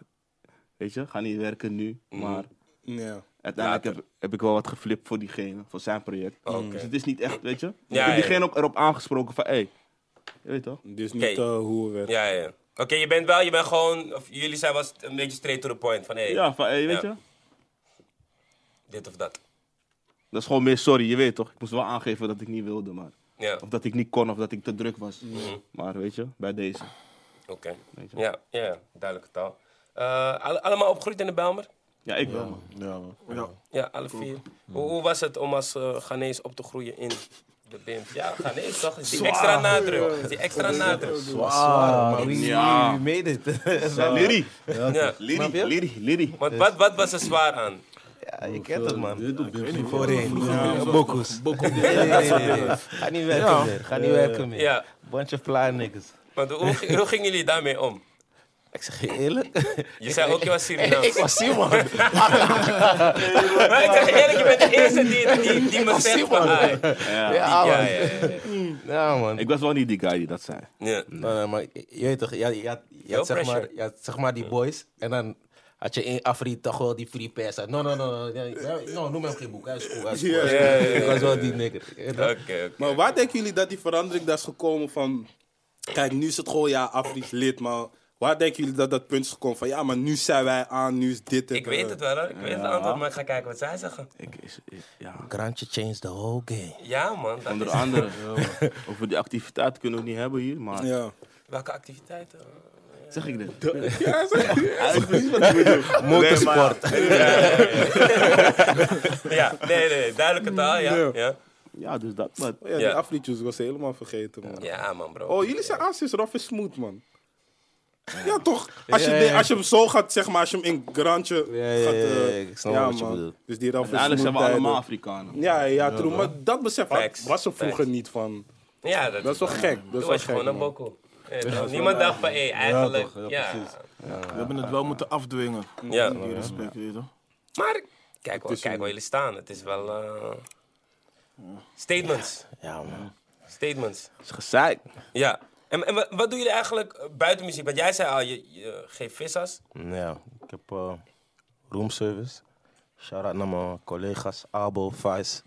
D: weet je, ga niet werken nu,
A: Mm.
D: maar
F: Ja.
D: uiteindelijk heb, heb ik wel wat geflipt voor diegene, voor zijn project.
A: Oké.
D: Dus het is niet echt, weet je. ik
A: ja,
D: heb
A: ja.
D: diegene ook erop aangesproken van, hé, hey, je weet toch?
F: Dus niet
A: Oké.
F: eh, hoe we werken.
A: Ja, ja. Oké, je bent wel, je bent gewoon, of jullie zijn wel st- een beetje straight to the point van hé, hey,
D: Ja, van, hé, weet
A: Ja.
D: je.
A: dit of dat.
D: Dat is gewoon meer sorry, je weet toch. Ik moest wel aangeven dat ik niet wilde, maar...
A: Ja,
D: Of dat ik niet kon, of dat ik te druk was. Maar weet je, bij deze.
A: oké. Ja, ja, ja, duidelijke taal. Eh, alle- allemaal opgegroeid in de Belmer?
D: Ja, ik wel, man.
E: Ja, man.
A: Ja, alle vier. Hoe, hoe was het om als eh Ghanese op te groeien in de BIM? Ja, Ghanese toch? Is die extra nadruk. Is die extra nadruk.
C: Wow, wie
D: Ja.
C: made it?
D: Liri,
A: Ja.
C: Snap
D: Liri,
C: je?
D: Liri, Liri.
A: Want wat, wat was er zwaar aan?
C: Ja, je kent het, man.
E: Dit doet Bim zo.
C: Voorheen. Bokus. Nee, nee, nee, nee, nee. Ga niet werken meer. Ga niet werken meer.
A: Ja,
C: Bunch of fly niggas.
A: want hoe, ging- hoe gingen jullie daarmee om?
C: Ik zeg je eerlijk.
A: Je zei ook, je was Surinaams.
C: Ik was Simon.
A: Maar ik zeg je eerlijk, je bent de eerste die, die, die me zegt van... ah, die-
D: Ja.
A: Ja,
C: Ja,
A: ja,
C: man.
A: ja. ja.
C: Ja, man.
D: Ik was wel niet die guy die dat zei.
A: Ja.
C: Nee, nee, maar je weet toch, je, had- je, had- je, had,
A: Veel
C: zeg maar,
A: pressure.
C: je had zeg maar die boys en dan had je één Afri toch wel die free pass had. No, no, no, no, nee, nee, no, noem hem geen boek, hij is cool, hij is cool. Ik was wel die nigger. Je weet toch?
A: Oké, oké.
F: Maar waar denken jullie dat die verandering daar is gekomen van... Kijk, nu is het gewoon, ja, Afrisch lid, maar... Waar denken jullie dat dat punt is gekomen van... Ja, maar nu zijn wij aan, nu is dit...
A: Ik weet het wel hoor, ik weet het antwoord, maar ik ga kijken wat zij zeggen.
D: Ik, is- ik- ja.
C: Grantje changed the whole game.
A: Ja man, dat
D: Onder
A: is...
D: andere, over die activiteit kunnen we het niet hebben hier, maar...
F: Ja.
A: Welke activiteiten?
D: Zeg ik dit? Ja, ik weet niet wat ik moet doen.
C: Motorsport.
A: Ja, nee, nee, duidelijke taal, ja. Ja,
D: Ja, dus dat. Maar
F: Oh ja, die
A: Ja.
F: Afrietjes was helemaal vergeten, man.
A: ja man bro.
F: Oh, jullie zijn aanstis rough en smooth, man. Ja, toch? Als je, de- als je hem zo gaat, zeg maar, als je hem in grantje
C: Ja, ja,
F: gaat...
C: ja,
F: eh,
C: ja, ik snap wat je bedoelt.
F: Dus die rough en
D: uiteindelijk zijn
F: smooth
D: we allemaal
F: tijden.
D: Afrikanen.
F: Ja, ja, true. maar dat besef had-
A: Facts.
F: was er vroeger
A: Facts.
F: niet van.
A: Ja, dat,
F: Dat is wel gek. Dat
A: Toen
F: is wel
A: was je
F: gek,
A: gewoon een
F: man.
A: bokkel. Eh, toch? Niemand dacht van, hé, eigenlijk...
E: toch, ja,
A: ja,
E: precies.
B: We hebben het wel moeten afdwingen.
A: Ja.
B: Die respect, weet je toch?
A: Maar kijk, wel, kijk waar jullie staan. Het is wel... eh, Statements.
C: Ja, man.
A: Statements.
D: Het is gezeik.
A: Ja. En, en wa- wat doen jullie eigenlijk eh, buiten muziek? Want jij zei al, je, je geeft vissers.
C: Ja, ik heb eh roomservice. Shout-out naar mijn collega's Abo, Vice.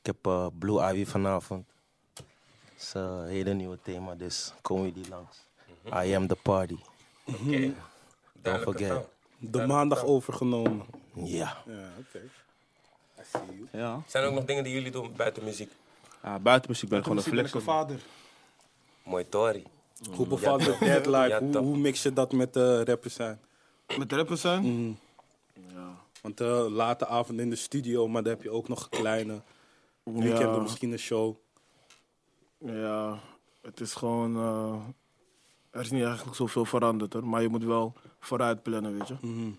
C: Ik heb eh, Blue Ivy vanavond. Het is eh, een hele nieuwe thema, dus komen jullie langs. I am the party.
A: Oké. Duidelijke
C: forget.
A: taal.
F: De maandag overgenomen.
C: Ja.
F: Ja, oké.
D: Ja.
A: Zijn er ook nog dingen die jullie doen buiten muziek?
D: ja. Buitenmuziek ben ik gewoon een
B: Misschien ben
D: flex.
B: ik een vader.
A: Mooi Tori.
F: Hoe bevalt het Dead
A: Ja,
F: Life? Hoe,
A: toch.
F: hoe mix je dat met de rappers zijn?
B: Met rappers zijn?
F: Want eh late avond in de studio, maar dan heb je ook nog een kleine weekend of misschien een show.
B: Ja, het is gewoon. eh, er is niet eigenlijk zoveel veranderd hoor, maar je moet wel vooruit plannen, weet je.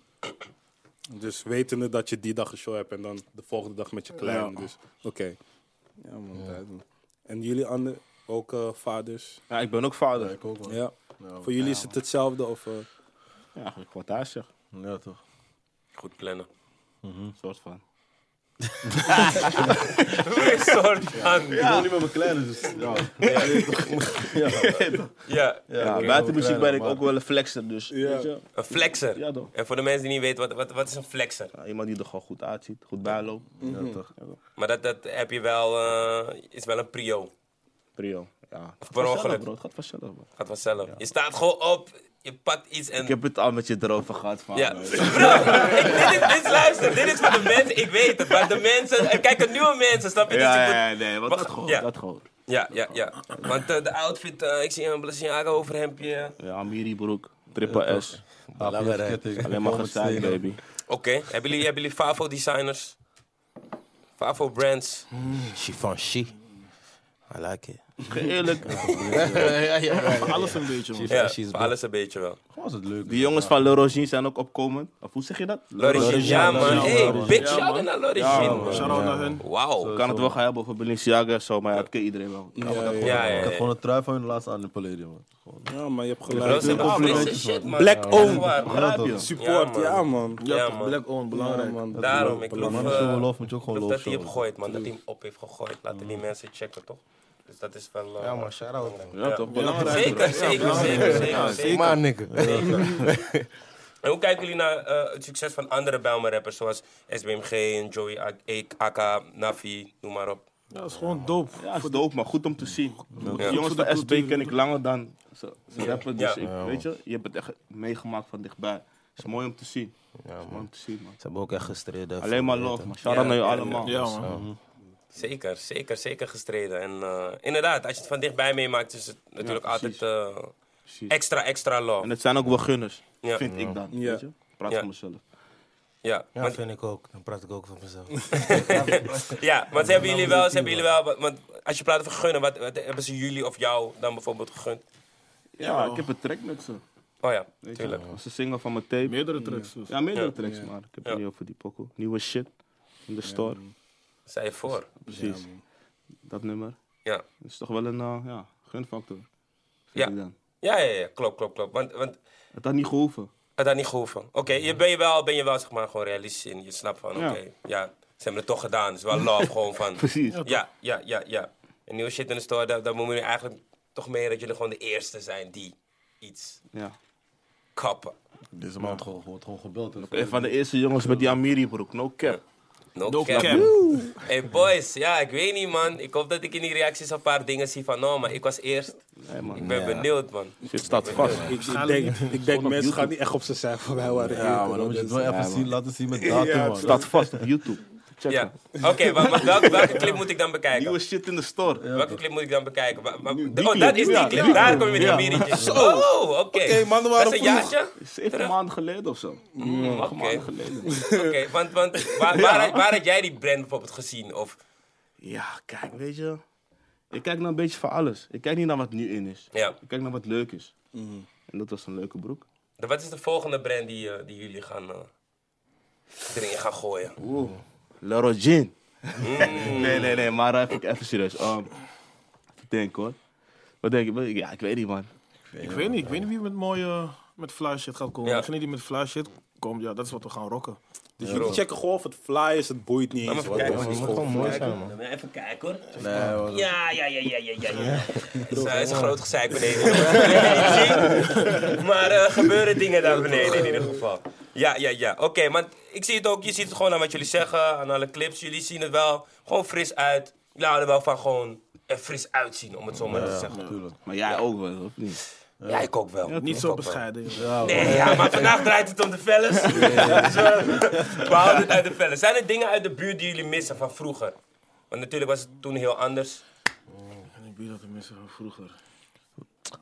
F: Dus wetende dat je die dag een show hebt en dan de volgende dag met je kleine.
B: Ja.
F: Dus oké. Ja, man. tijd, man. En jullie andere, ook eh, vaders?
D: Ja, ik ben ook vader.
E: Ik ook, man.
F: Ja. Voor jullie is het hetzelfde of... eh,
D: Ja, eigenlijk wat daar zeg.
E: Ja, toch.
A: Goed plannen.
D: Een soort van.
A: Een soort van.
E: Ik woon niet met mijn kleine, dus ja.
A: Ja.
D: Ja,
A: oké.
D: buitenmuziek ben ik
E: maar-
D: ook wel een flexer, dus. Weet je?
A: Een flexer.
D: Ja, toch.
A: En voor de mensen die niet weten, wat, wat, wat is een flexer?
D: Ja, iemand die er gewoon goed uitziet, goed bijloopt.
E: Ja, toch.
A: Maar dat, dat heb je wel, eh, is wel een prio.
D: Prio. Ja.
A: per
D: Vanzelf,
A: ongeluk.
D: bro. Het gaat vanzelf, man.
A: Gaat vanzelf. Je staat gewoon op, je pakt iets en...
D: Ik heb het al met je erover gehad, man.
A: Ja. Bro, ik, dit, is, dit is- luister, dit is voor de mensen, ik weet het. Maar de mensen, en kijk, de nieuwe mensen, snap je? Dus ik
D: Ja,
A: moet-
D: ja, ja, nee, want
A: Wacht,
D: dat gewoon,
A: ja.
D: dat gewoon.
A: Ja, ja, ja. Want eh, de outfit, eh, ik zie een Balenciaga overhempje. Oké,
D: Ja, Amiri broek, triple S,
C: Belangrijk.
D: alleen maar gezeik, baby.
A: hebben jullie, hebben jullie Favo designers? Favo brands?
C: Chiffon, she. I like it.
D: Eerlijk,
B: Alles een beetje, man.
A: Ja, voor alles een beetje wel.
E: was het leuk.
D: die jongens van Le Rogin zijn ook opkomend. Of hoe zeg je dat? Le
A: L'Origine, ja man.
B: L'Origine,
A: Hey,
B: man.
A: big
B: Ja,
A: shout out
B: man.
A: naar L'Origine.
B: Shout-out naar hen.
A: Wauw.
D: Kan het wel gaan hebben over Balenciaga en zo, maar ja, dat kent iedereen wel.
A: Ja,
E: Ik
A: ja,
E: had
A: ja.
E: gewoon een trui van hun laatst aan in Palladium, man. Gewoon.
F: Ja, maar je hebt
A: Bro,
F: gelijk.
A: ze hebben
D: complimentjes,
A: deze shit, man.
F: Black
A: Echt
F: owned.
A: waar, man.
D: Begrijp je?
F: Support,
A: Ja,
F: ja man.
A: Ja,
B: Ja,
A: man.
B: man. Black on, belangrijk.
F: Ja, man.
A: Daarom, ik geloof
E: Maar show
A: eh,
E: love moet je ook gewoon
A: ik geloof
E: love
A: dat hij heeft
E: showen.
A: gegooid, man. Dat hij hem op heeft gegooid. Laten die mensen checken, toch? Dus dat is wel... eh,
C: Ja, maar shout-out.
D: Ja, toch? Belangrijk.
A: Zeker, zeker, zeker, zeker, zeker.
C: Maar, nigga.
A: En hoe kijken jullie naar eh, het succes van andere Bijlmer rappers zoals SBMG en Joey A- Ek- Aka, Nafi, noem maar op?
B: Ja, dat is gewoon dope.
D: Ja, is dope, maar goed om te zien. Die
A: Ja.
D: jongens
B: Voor de
D: van SB
B: cultuur.
D: ken ik langer dan ze, ze rappen,
A: Ja.
D: dus ik, weet je, je hebt het echt meegemaakt van dichtbij. is mooi om te zien. is mooi om te zien, man.
C: Ze hebben ook echt gestreden.
D: Alleen maar love, man. Shout
A: Ja,
D: out naar je
A: ja,
D: allemaal.
B: Ja, man.
A: Zeker, zeker, zeker gestreden. En eh, inderdaad, als je het van dichtbij meemaakt, is het natuurlijk altijd
D: precies.
A: eh,
D: Precies.
A: extra, extra love.
D: En het zijn ook wel gunners,
A: Ja.
D: vind ik dan.
F: Ja.
D: Weet je? Praat
A: Ja.
D: voor mezelf.
A: Ja,
C: Ja,
A: want,
C: vind ik ook. Dan praat ik ook van mezelf.
A: ja, want ze hebben jullie wel, ze hebben jullie wel, want- want als je praat over gunnen, wat, wat hebben ze jullie of jou dan bijvoorbeeld gegund?
D: Ja, ik heb een track met ze.
A: Oh ja,
D: Weet je,
A: tuurlijk.
D: dat was een single van mijn tape.
B: Meerdere tracks. dus.
D: Ja, meerdere
A: Ja.
D: tracks, maar ik heb
A: Ja.
D: het niet over die pokoe. Nieuwe shit in de store.
A: Zij voor.
D: Precies. dat nummer.
A: Ja.
D: Dat is toch wel een eh, ja, gunfactor.
A: Ja.
D: Vind ik dan.
A: Ja, ja, ja, klopt, klopt, klopt. Want, want
D: Het had niet gehoeven.
A: het had niet gehoeven. Oké, je ben je wel, ben je wel zeg maar gewoon realistisch in. Je snapt van, oké,
D: Ja.
A: ja, ze hebben het toch gedaan. Het is wel love gewoon van.
D: Precies.
A: Ja, ja, ja, ja. En nieuwe shit in de store, daar, daar moet je eigenlijk toch mee dat jullie gewoon de eerste zijn die iets
D: Ja.
A: kappen.
E: Deze man gewoon- wordt gewoon gebeld. en-
D: Een Eh, van de eerste jongens met die Amiri-broek, no cap.
A: No,
B: cap.
A: Hey boys, ja, ik weet niet man. Ik hoop dat ik in die reacties een paar dingen zie van, nou maar ik was eerst.
D: Nee, man.
A: Ik ben benieuwd man.
D: Shit staat vast.
F: Ik, ik denk, ik denk mensen gaan niet echt op zijn zij voorbij waren.
E: Ja, maar dan moet je het wel even zien, laten zien met datum, man.
D: Staat vast op YouTube. Check
A: Ja.
D: het.
A: Oké, maar, maar welke, welke clip moet ik dan bekijken?
D: Nieuwe shit in de store.
A: Welke clip moet ik dan bekijken? Wa- wa- oh,
D: die
A: dat
D: clip.
A: is die
D: Ja,
A: clip.
D: die
A: Daar
D: clip.
A: kom je met die
D: Ja.
A: amirietjes. Oh, oké.
F: Oké, mannen waren
A: Dat is een
F: vroeg.
A: jaartje?
D: Zeven
A: Terug.
D: maanden geleden of zo. Mm, acht
A: oké.
D: maanden geleden.
A: Oké, want, want waar, waar, had- waar had jij die brand bijvoorbeeld gezien? Of,
D: Ja, kijk, weet je. Ik kijk naar een beetje van alles. Ik kijk niet naar wat nu in is.
A: ja.
D: Ik kijk naar wat leuk is. En dat was een leuke broek.
A: Dan Wat is de volgende brand die, eh, die jullie gaan, eh, erin gaan gooien?
D: Le Rogin. nee, nee, nee, maar even, even serieus. Um, even denken hoor. Wat denk je? Ja, ik weet niet, man.
B: Ik weet niet, ik weet niet wie met mooie, met fly shit gaat komen.
A: Ja.
B: Degene die met fly shit komt, ja, dat is wat we gaan rocken.
F: Dus jullie checken gewoon of het fly is, het boeit niet eens.
A: Even
F: wat
A: kijken,
F: het
A: man.
F: is.
C: moet gewoon mooi zijn, man.
A: Even kijken hoor.
E: Nee, man.
A: Ja, ja, ja, ja, ja, ja. ja. Dus, eh, is een groot gezeik beneden. jongens. maar er gebeuren dingen daar beneden in ieder geval. Ja, ja, ja. Oké, maar ik zie het ook. Je ziet het gewoon aan wat jullie zeggen, aan alle clips. Jullie zien het wel gewoon fris uit. Jullie houden wel van gewoon er fris uitzien, om het zo maar te zeggen.
D: Maar jij ook wel, of niet?
A: Ja, ik ook wel.
B: Niet
A: Ik
B: zo
A: ook wel.
B: bescheiden. joh.
A: Nee, ja, maar vandaag draait het om de fellas. Dus we- we houden het uit de fellas. Zijn er dingen uit de buurt die jullie missen van vroeger? Want natuurlijk was het toen heel anders.
B: En ik weet dat de mensen van vroeger.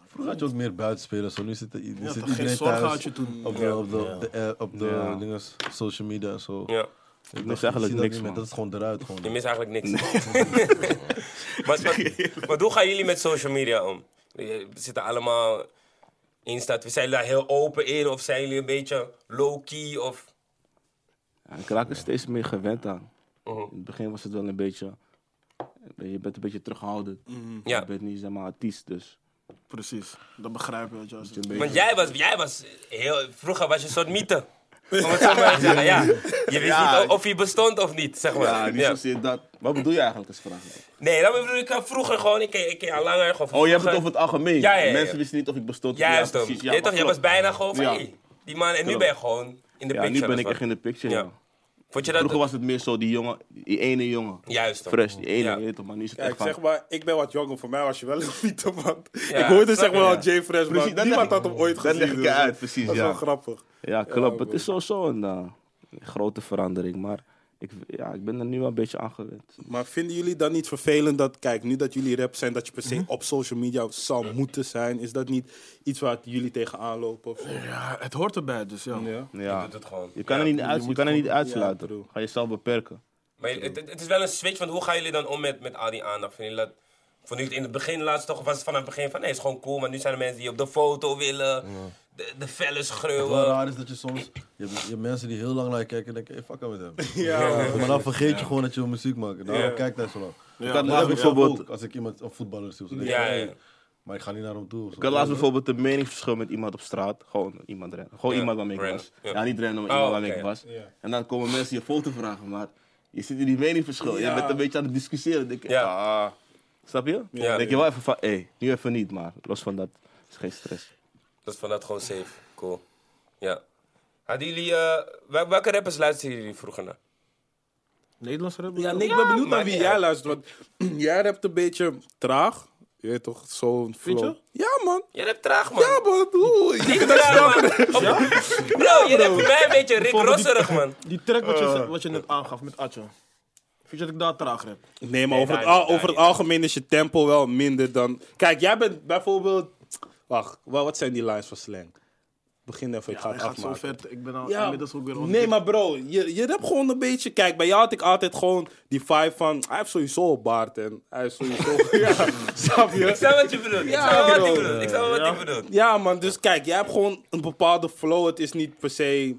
E: Vroeger had je ook meer buitenspelers, zo. nu zit, nu
B: Ja,
E: zit
B: toch, geen
E: iedereen
B: zorgen had
E: thuis
B: je toen.
E: op de, op de, op de, eh, op de dinges, social media en zo.
A: Ja.
E: Ik
D: mis
E: dacht,
D: eigenlijk
E: zie dat
D: niks,
E: niet meer,
D: man.
E: Dat is gewoon eruit.
A: Je
E: Gewoon.
A: mist eigenlijk niks. maar, maar, maar hoe gaan jullie met social media om? We zitten allemaal Insta. Zijn jullie daar heel open in? Of zijn jullie een beetje low-key? Of...
D: Ja, ik raak er steeds meer gewend aan.
A: Mhm.
D: In het begin was het wel een beetje. Je bent een beetje terughoudend.
A: Ja.
D: Je bent niet zeg maar artiest, dus.
B: Precies, dat begrijp je. Weet je, als
D: je een beetje-
A: Want jij was, jij was heel... Vroeger was je een soort mythe. Om het zo maar te zeggen, ja. Je wist
D: Ja.
A: niet of- of je bestond of niet, zeg maar.
D: Ja, niet
A: Ja.
D: zozeer dat. Wat bedoel je eigenlijk als vraag?
A: Nee, dat bedoel ik eh, vroeger gewoon. Ik ken, ik ken jou langer. Gewoon,
D: Oh, je hebt het
A: vroeger.
D: over het algemeen.
A: Ja, ja, ja.
D: Mensen wisten niet of ik bestond.
A: Juist,
D: ja,
A: ja,
D: precies.
A: je,
D: maar
A: toch, je was
D: klopt.
A: bijna gewoon van,
D: Ja.
A: hey, die man. En nu
D: Klopt.
A: ben je gewoon in de
D: Ja,
A: picture.
D: nu ben
A: dus
D: ik
A: wat-
D: echt in de picture.
A: Ja.
D: ja.
A: Vond je dat...
D: Vroeger was het meer zo, die jongen, die ene jongen.
A: Juist, toch.
D: Fresh, die ene,
A: Ja.
D: je weet toch, maar nu is het
F: Kijk,
D: echt van-
F: zeg maar, ik ben wat jonger. Voor mij was je wel een mythe, man.
A: Ja,
F: ik hoorde
A: snap
F: zeg
A: je,
F: maar
A: ja.
F: al Jay Fresh,
D: Precies,
F: maar
D: dat
F: niemand
D: leg-
F: had hem ooit
D: dat
F: gezien.
D: leg ik
F: dus
D: uit, precies,
F: Dat is
D: ja.
F: wel grappig.
D: Ja, klopt. het is sowieso een eh, grote verandering, maar ik, ja, ik ben er nu wel een beetje aan gewend.
F: Maar vinden jullie dan niet vervelend dat, kijk, nu dat jullie rap zijn, dat je per se op social media zou moeten zijn? Is dat niet iets waar jullie tegenaan lopen? Of zo?
B: Ja, het hoort erbij, dus ja.
F: Ja.
A: Je
D: Ja.
A: doet het gewoon.
D: Je kan er niet, uit, je kan er niet uitsluiten.
F: true.
D: Ga jezelf beperken.
A: Maar het, het- het is wel een switch, want hoe gaan jullie dan om met, met al die aandacht? Vinden jullie dat Voor nu, in het begin laatst toch was het van het begin van nee, is gewoon cool. Maar nu zijn er mensen die op de foto willen, de, de felle
E: Wat
A: schreeuwen.
E: raar is dat je soms... Je hebt, je hebt mensen die heel lang naar je kijken en denken, hey, fuck aan met hem.
F: Ja.
E: Maar dan vergeet je gewoon dat je wil muziek maakt. Daarom kijkt hij zo lang.
D: ik
E: Dat
D: had laatst
E: heb ik zelf
D: bijvoorbeeld,
E: ook, als ik iemand, een voetballer zie of zo. denk ik,
A: Ja,
E: hey,
A: ja.
E: Maar ik ga niet naar hem toe of zo.
D: ik had laatst bijvoorbeeld een meningsverschil met iemand op straat. Gewoon iemand rennen. Gewoon
A: Ja,
D: iemand waarmee ik
A: random,
D: was.
A: ja.
D: Ja, niet random, maar
A: Oh,
D: iemand waarmee
A: oké.
D: ik was.
F: Ja.
D: En dan komen mensen je foto vragen, maar je zit in die meningsverschil.
F: Ja.
D: Je bent een beetje aan het discussiëren. Denk, ik,
A: Ja.
D: ah, snap je?
A: Ja.
D: denk je wel even van, hé, nu even niet, maar los van dat is geen stress.
A: Dat is van dat gewoon safe. Cool. Ja. Hadden jullie, eh, wel- welke rappers luisterden jullie vroeger naar?
B: Nederlands rapper?
F: Ja, nee, ik ben benieuwd naar
A: maar-
F: wie jij luistert. Want jij hebt een beetje traag. Je weet toch, zo'n flow.
B: je?
F: Ja, man.
A: Jij hebt traag, man.
F: Ja, man. Oeh, je kunt dat
A: Traag,
F: snappen.
A: man. Op- Bro, je hebt voor mij een beetje Rick Rosserig, man.
B: Die track wat je, wat je net aangaf met Atje. Vind je dat ik daar traag rap?
F: Nee, maar over, het,
A: daar
F: al-
A: niet,
F: over het algemeen is je tempo wel minder dan... Kijk, jij bent bijvoorbeeld... Wacht, wa- wat zijn die lines van slang? Begin even, ik ga
B: Hij
F: het
B: gaat zo
F: afmaken.
B: ver. Ik ben al
F: Ja,
B: inmiddels ook weer onder-
F: nee, maar bro, je, je hebt gewoon een beetje... Kijk, bij jou had ik altijd gewoon die vibe van... Hij heeft sowieso een baard en hij is sowieso... ja, snap je?
A: Ik snap wat je bedoelt. Ik
F: Ja,
A: snap wat
F: bro.
A: je bedoelt. Ik snap wat je bedoelt.
F: Ja, man, dus kijk, jij hebt gewoon een bepaalde flow. Het is niet per se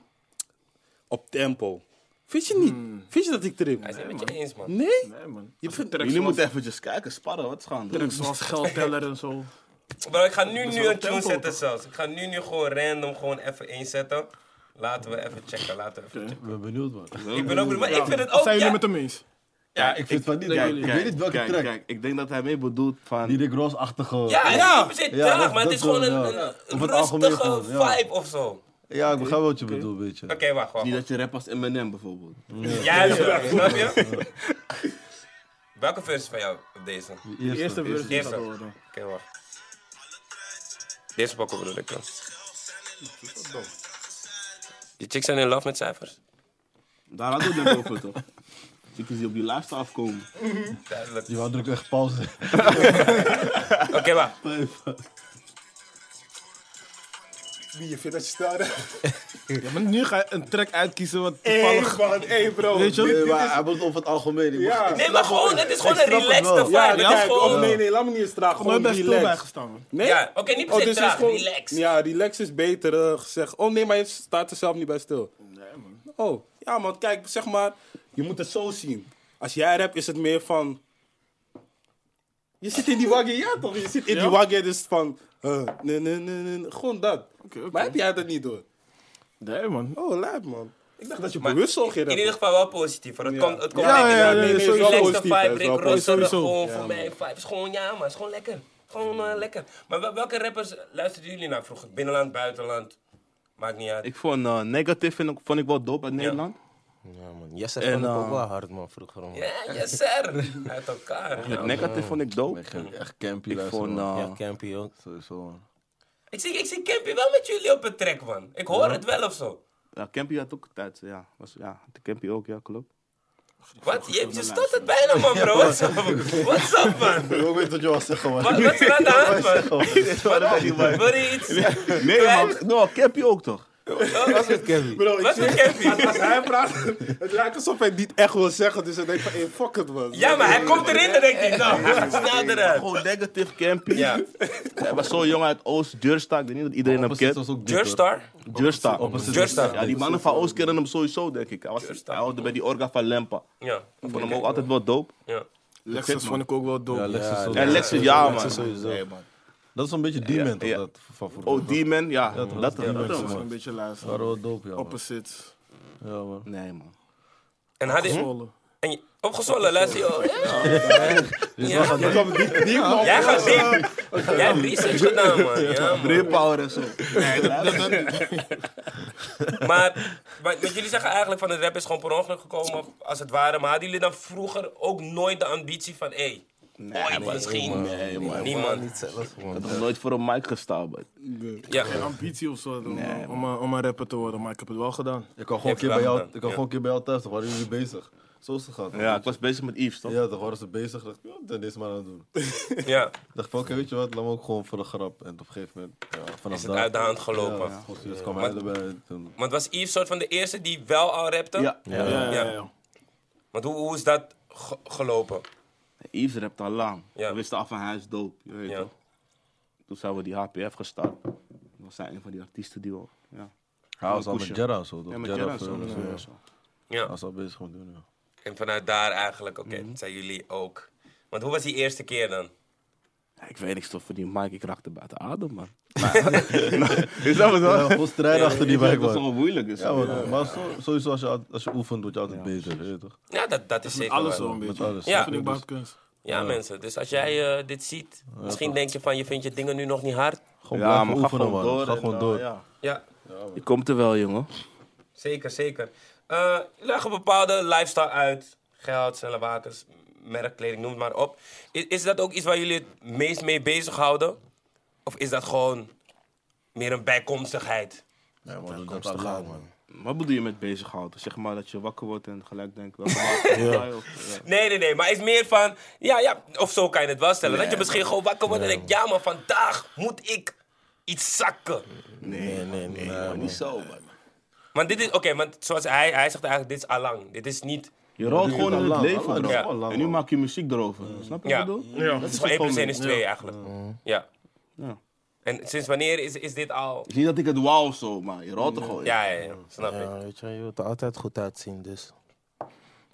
F: op tempo. Vind je niet?
B: Hmm.
F: Vind je dat ik
A: Hij
F: trip?
A: is het met je eens, man.
F: Nee?
B: Nee, man.
F: Je vindt
B: Tracks
D: Jullie
B: zoals,
D: moeten eventjes kijken, sparren, wat is gaan doen?
B: tracks zoals geldteller en zo.
A: Bro, ik ga nu, nu
B: wel
A: een tune
B: tempo,
A: zetten
B: toch?
A: zelfs. Ik ga nu, nu gewoon random gewoon even één zetten. Laten we even checken, laten we even checken.
E: Ik ben benieuwd, man.
A: Ik ben ook benieuwd, maar ik vind het ook,
B: Zijn jullie
A: ja.
B: met hem eens?
E: Ja, ik vind het van niet.
B: Kijk,
E: man. Ik weet niet welke
D: kijk,
E: track.
D: Kijk, ik denk dat hij mee bedoelt van...
E: Die Rick Ross-achtige...
A: Ja, het is
F: Ja.
A: niet per se
E: Ja,
A: traag,
E: dat-
A: maar het
E: dat
A: is gewoon
E: wel,
A: een,
E: ja.
A: een-
E: Of
A: een
E: het algemeen
A: rustige
E: gewoon, ja.
A: vibe of zo. Oké,
E: Ja, ik begrijp wat je bedoelt, weet je.
A: wacht, wacht.
D: Niet dat je rap als Eminem bijvoorbeeld.
A: Jij hebt het, snap je? Welke versie van jou op deze? Oké,
E: Die eerste.
B: Eerste versie
A: Eerste.
B: gaat worden.
A: wacht. Deze pakken bedoel ik dan. Die chicks zijn in love met cijfers.
D: Daar hadden we het net over, toch? Ik zie op die laatste afkomen.
A: Duidelijk.
E: Die wou druk echt pauze.
A: Oké, wacht.
F: Je vindt dat je staat.
B: Ja, maar nu ga je een track uitkiezen wat toevallig...
F: bro.
B: Weet je
E: Nee,
B: wel?
E: maar hij bedoelt over het algemeen. Ik
F: Ja.
E: mag-
A: Nee, maar gewoon, het is gewoon een
E: snap het
A: relaxte
E: wel.
A: vibe.
F: Ja,
A: Het is
F: kijk,
A: gewoon-
F: oh nee, nee, laat me niet eens traag.
B: Ik heb
F: Gewoon
B: nooit bij stil bij
F: relax.
B: gestaan, man.
F: Nee? Oh, dus
A: Ja, oké, niet per se
F: het is
A: traag, relax.
F: Ja, relax is beter eh, gezegd. Oh nee, maar je staat er zelf niet bij stil. Nee, man. Oh, ja man, kijk, zeg maar, je moet het zo zien. Als jij rapt is het meer van... Je zit in die waggie, ja toch? Je zit in die waggie, dus van... eh, nee, nee, nee, nee, gewoon dat.
B: oké.
F: Maar heb jij dat niet door?
B: Nee, man.
F: Oh, lijp man. Ik dacht dat je
A: Maar
F: bewust zo ging
A: in ieder
F: rappen.
A: geval wel positief. Want het
F: Ja.
A: komt, het komt
F: Ja,
A: lekker.
F: ja, ja, nee, nee,
A: Relaxed
F: sowieso
A: vibe,
F: positief, hè, is wel
A: Rick
F: positief.
A: Rossum,
B: Sowieso.
A: gewoon voor mij. Vibe is gewoon, ja, maar is gewoon lekker. Gewoon eh, lekker. Maar wel- welke rappers luisterden jullie naar vroeger? Binnenland, buitenland? Maakt niet uit.
D: Ik vond eh Negative vind ik, vond ik wel dope uit Nederland.
C: Ja, man. Jesse
D: En,
C: vond ik ook
D: eh,
C: wel hard, man, vroeger. Man.
A: Ja, yes sir. Uit elkaar.
D: Negative vond ik dope.
E: Ik ging echt campy
D: Ik
E: luisteren,
D: vond...
E: man.
D: eh,
C: Ja, Campy ook.
E: Sowieso, man.
A: Ik zie, ik zie Campy wel met jullie op het track, man. Ik hoor het wel of zo.
D: ja, Campy had ook tijd. eh, Ja, was, ja de Campy ook, ja, klopt.
A: Wat? Je, je stond het bijna, man, bro. What's up? What's up, man?
E: Ik wil weten wat je was zeggen, man.
A: Wat, wat is er aan de hand, man?
D: nee,
A: Wil je iets?
D: man. No, Campy ook toch?
C: Was het Campy?
F: Bro, ik
A: Wat
F: zie-
A: met Campy?
F: als hij praat, het lijkt alsof hij niet echt wil zeggen. Dus hij denkt van, hey, fuck it man.
A: Ja, maar hij komt erin, dan denk ik. Nou, hij gaat snel eruit.
D: Gewoon Negative Campy.
A: Ja.
D: Hij was zo'n jongen uit Oost, Jurstar. Ik weet niet dat iedereen hem
E: Opposite
D: kent.
E: was ook dik, hoor.
A: Jurstar?
D: Jurstar.
A: Jurstar.
D: Ja, die mannen van Oost kennen hem sowieso, denk ik. Hij, was, hij hoorde bij die orga van Lempa.
A: Ja.
D: Ik vond hem ook altijd wel dope.
A: Ja.
B: Lexus vond ik ook wel dope.
E: Ja, Lexus sowieso.
D: En Lexus, ja, man.
E: sowieso. Dat is een beetje die man, toch?
D: ja.
E: Dat van vroeger.
D: Oh, D-Man, ja. Dat
E: die man,
D: dat-
B: Dat was
E: man.
B: een beetje luisteren.
E: Waren wel dope, ja, man.
B: Opposites.
E: Ja, man.
D: Nee, man.
A: En had je...
B: Zwolle.
A: En je- opgezwollen, luister je. oh, ja. Ja. Jij gaat zien. Jij hebt research gedaan, man. Ja, man.
D: Power en zo. Nee, dat, dat,
A: Maar, maar wat jullie zeggen eigenlijk van de rap is gewoon per ongeluk gekomen, als het ware. Maar hadden jullie dan vroeger ook nooit de ambitie van, hé, ooit misschien?
D: Nee, man.
A: Niemand.
C: Niet zelfs, man.
D: Ik heb nooit voor een mic gestaan, man.
A: Ja.
B: Geen ambitie of zo om, om, een- om een rapper te worden, maar ik heb het wel gedaan.
E: Ik kan gewoon een
A: Je
E: keer
A: hebt
E: bij jou-
A: gedaan,
E: ik kan gewoon een keer bij jou thuis, toch? Waren jullie bezig? Zo is het gegaan. toch?
D: Ja, ik was bezig met Yves, toch?
E: Ja, toch waren ze bezig. Ik dacht, joh, dan is maar aan het doen.
A: ja.
E: Ik dacht van, oké, weet je wat, laat me ook gewoon voor de grap. En op een gegeven moment, ja, vanaf
A: Is het uit de hand gelopen.
E: Ja, goed, dus kwam hij erbij. en Toen,
A: Want was Yves soort van de eerste die wel al rapte?
D: Ja.
B: Ja, ja, ja.
A: Want hoe, hoe is dat ge- gelopen?
D: Yves rapt al lang.
A: Ja.
D: We wisten af van hij is doop. Je weet
A: Ja.
D: toch? Toen zijn we die HPF gestart. We zijn een van die artiesten die we... Ja,
G: Hij was al met
D: Pushen.
G: Jera zo, dus, eh, toch?
D: ja met
G: Jeddah
D: Gerard zo.
G: Furnace,
D: zo,
G: ja.
D: ja, zo.
G: Hij
A: Ja.
G: was al bezig met doen, ja.
A: En vanuit daar eigenlijk, oké, zijn jullie ook. Want hoe was die eerste keer dan?
D: Ja, Ik weet niks toch van die Mike, ik raakte buiten adem, man. Maar, is dat wat?
G: Ja, vol strijd achter die wijk,
D: Dat is toch
G: man.
D: wel moeilijk. Is
G: Ja, maar, maar zo- sowieso als je, al- als je oefent, word je altijd beter, weet je toch?
A: Ja, dat, dat is zeker
B: Alles
A: waar.
B: zo een
G: Met
B: beetje.
G: alles.
A: Ja.
B: Vind ik buitenkunst.
A: Ja, mensen. Dus als jij eh, dit ziet, misschien denk je van je vindt je dingen nu nog niet hard.
G: Gewoon
D: Ja,
G: blijven
D: maar ga
G: oefenen,
D: gewoon
G: man.
D: door.
G: ga
D: en
G: gewoon
D: dan,
G: door.
D: ja.
A: Ja,
D: Je komt er wel, jongen.
A: zeker, zeker. Eh leg een bepaalde lifestyle uit. Geld, snelle wakens, merkkleding, noem het maar op. Is, is dat ook iets waar jullie het meest mee bezighouden? Of is dat gewoon meer een bijkomstigheid?
G: Nee, man, doe dat al lang, man.
D: Wat bedoel je met bezighouden? Zeg maar dat je wakker wordt en gelijk denkt... Welke maat ja. Of, ja.
A: Nee, nee, nee. Maar is meer van, ja, ja, of zo kan je het wel stellen. dat je misschien gewoon wakker wordt en denkt, ja, maar vandaag moet ik iets zakken.
C: Nee, nee, nee.
D: Maar niet zo, man.
A: Want dit is, oké, want zoals hij, hij zegt eigenlijk, dit is allang. Dit is niet,
D: Je rolt gewoon in het
G: lang,
D: leven,
G: lang,
D: bro.
A: ja.
D: En nu maak je muziek erover. Snap je
A: Ja.
D: wat ik bedoel?
A: het is gewoon 1 plus 1 is 2 eigenlijk. Ja.
D: Ja.
A: En sinds wanneer is, is dit al...
D: Het is niet dat ik het wou of zo, maar je rolt er gewoon.
A: Ja, ja, ja, snap ik.
C: Ja, weet je, je wilt er altijd goed uitzien, dus.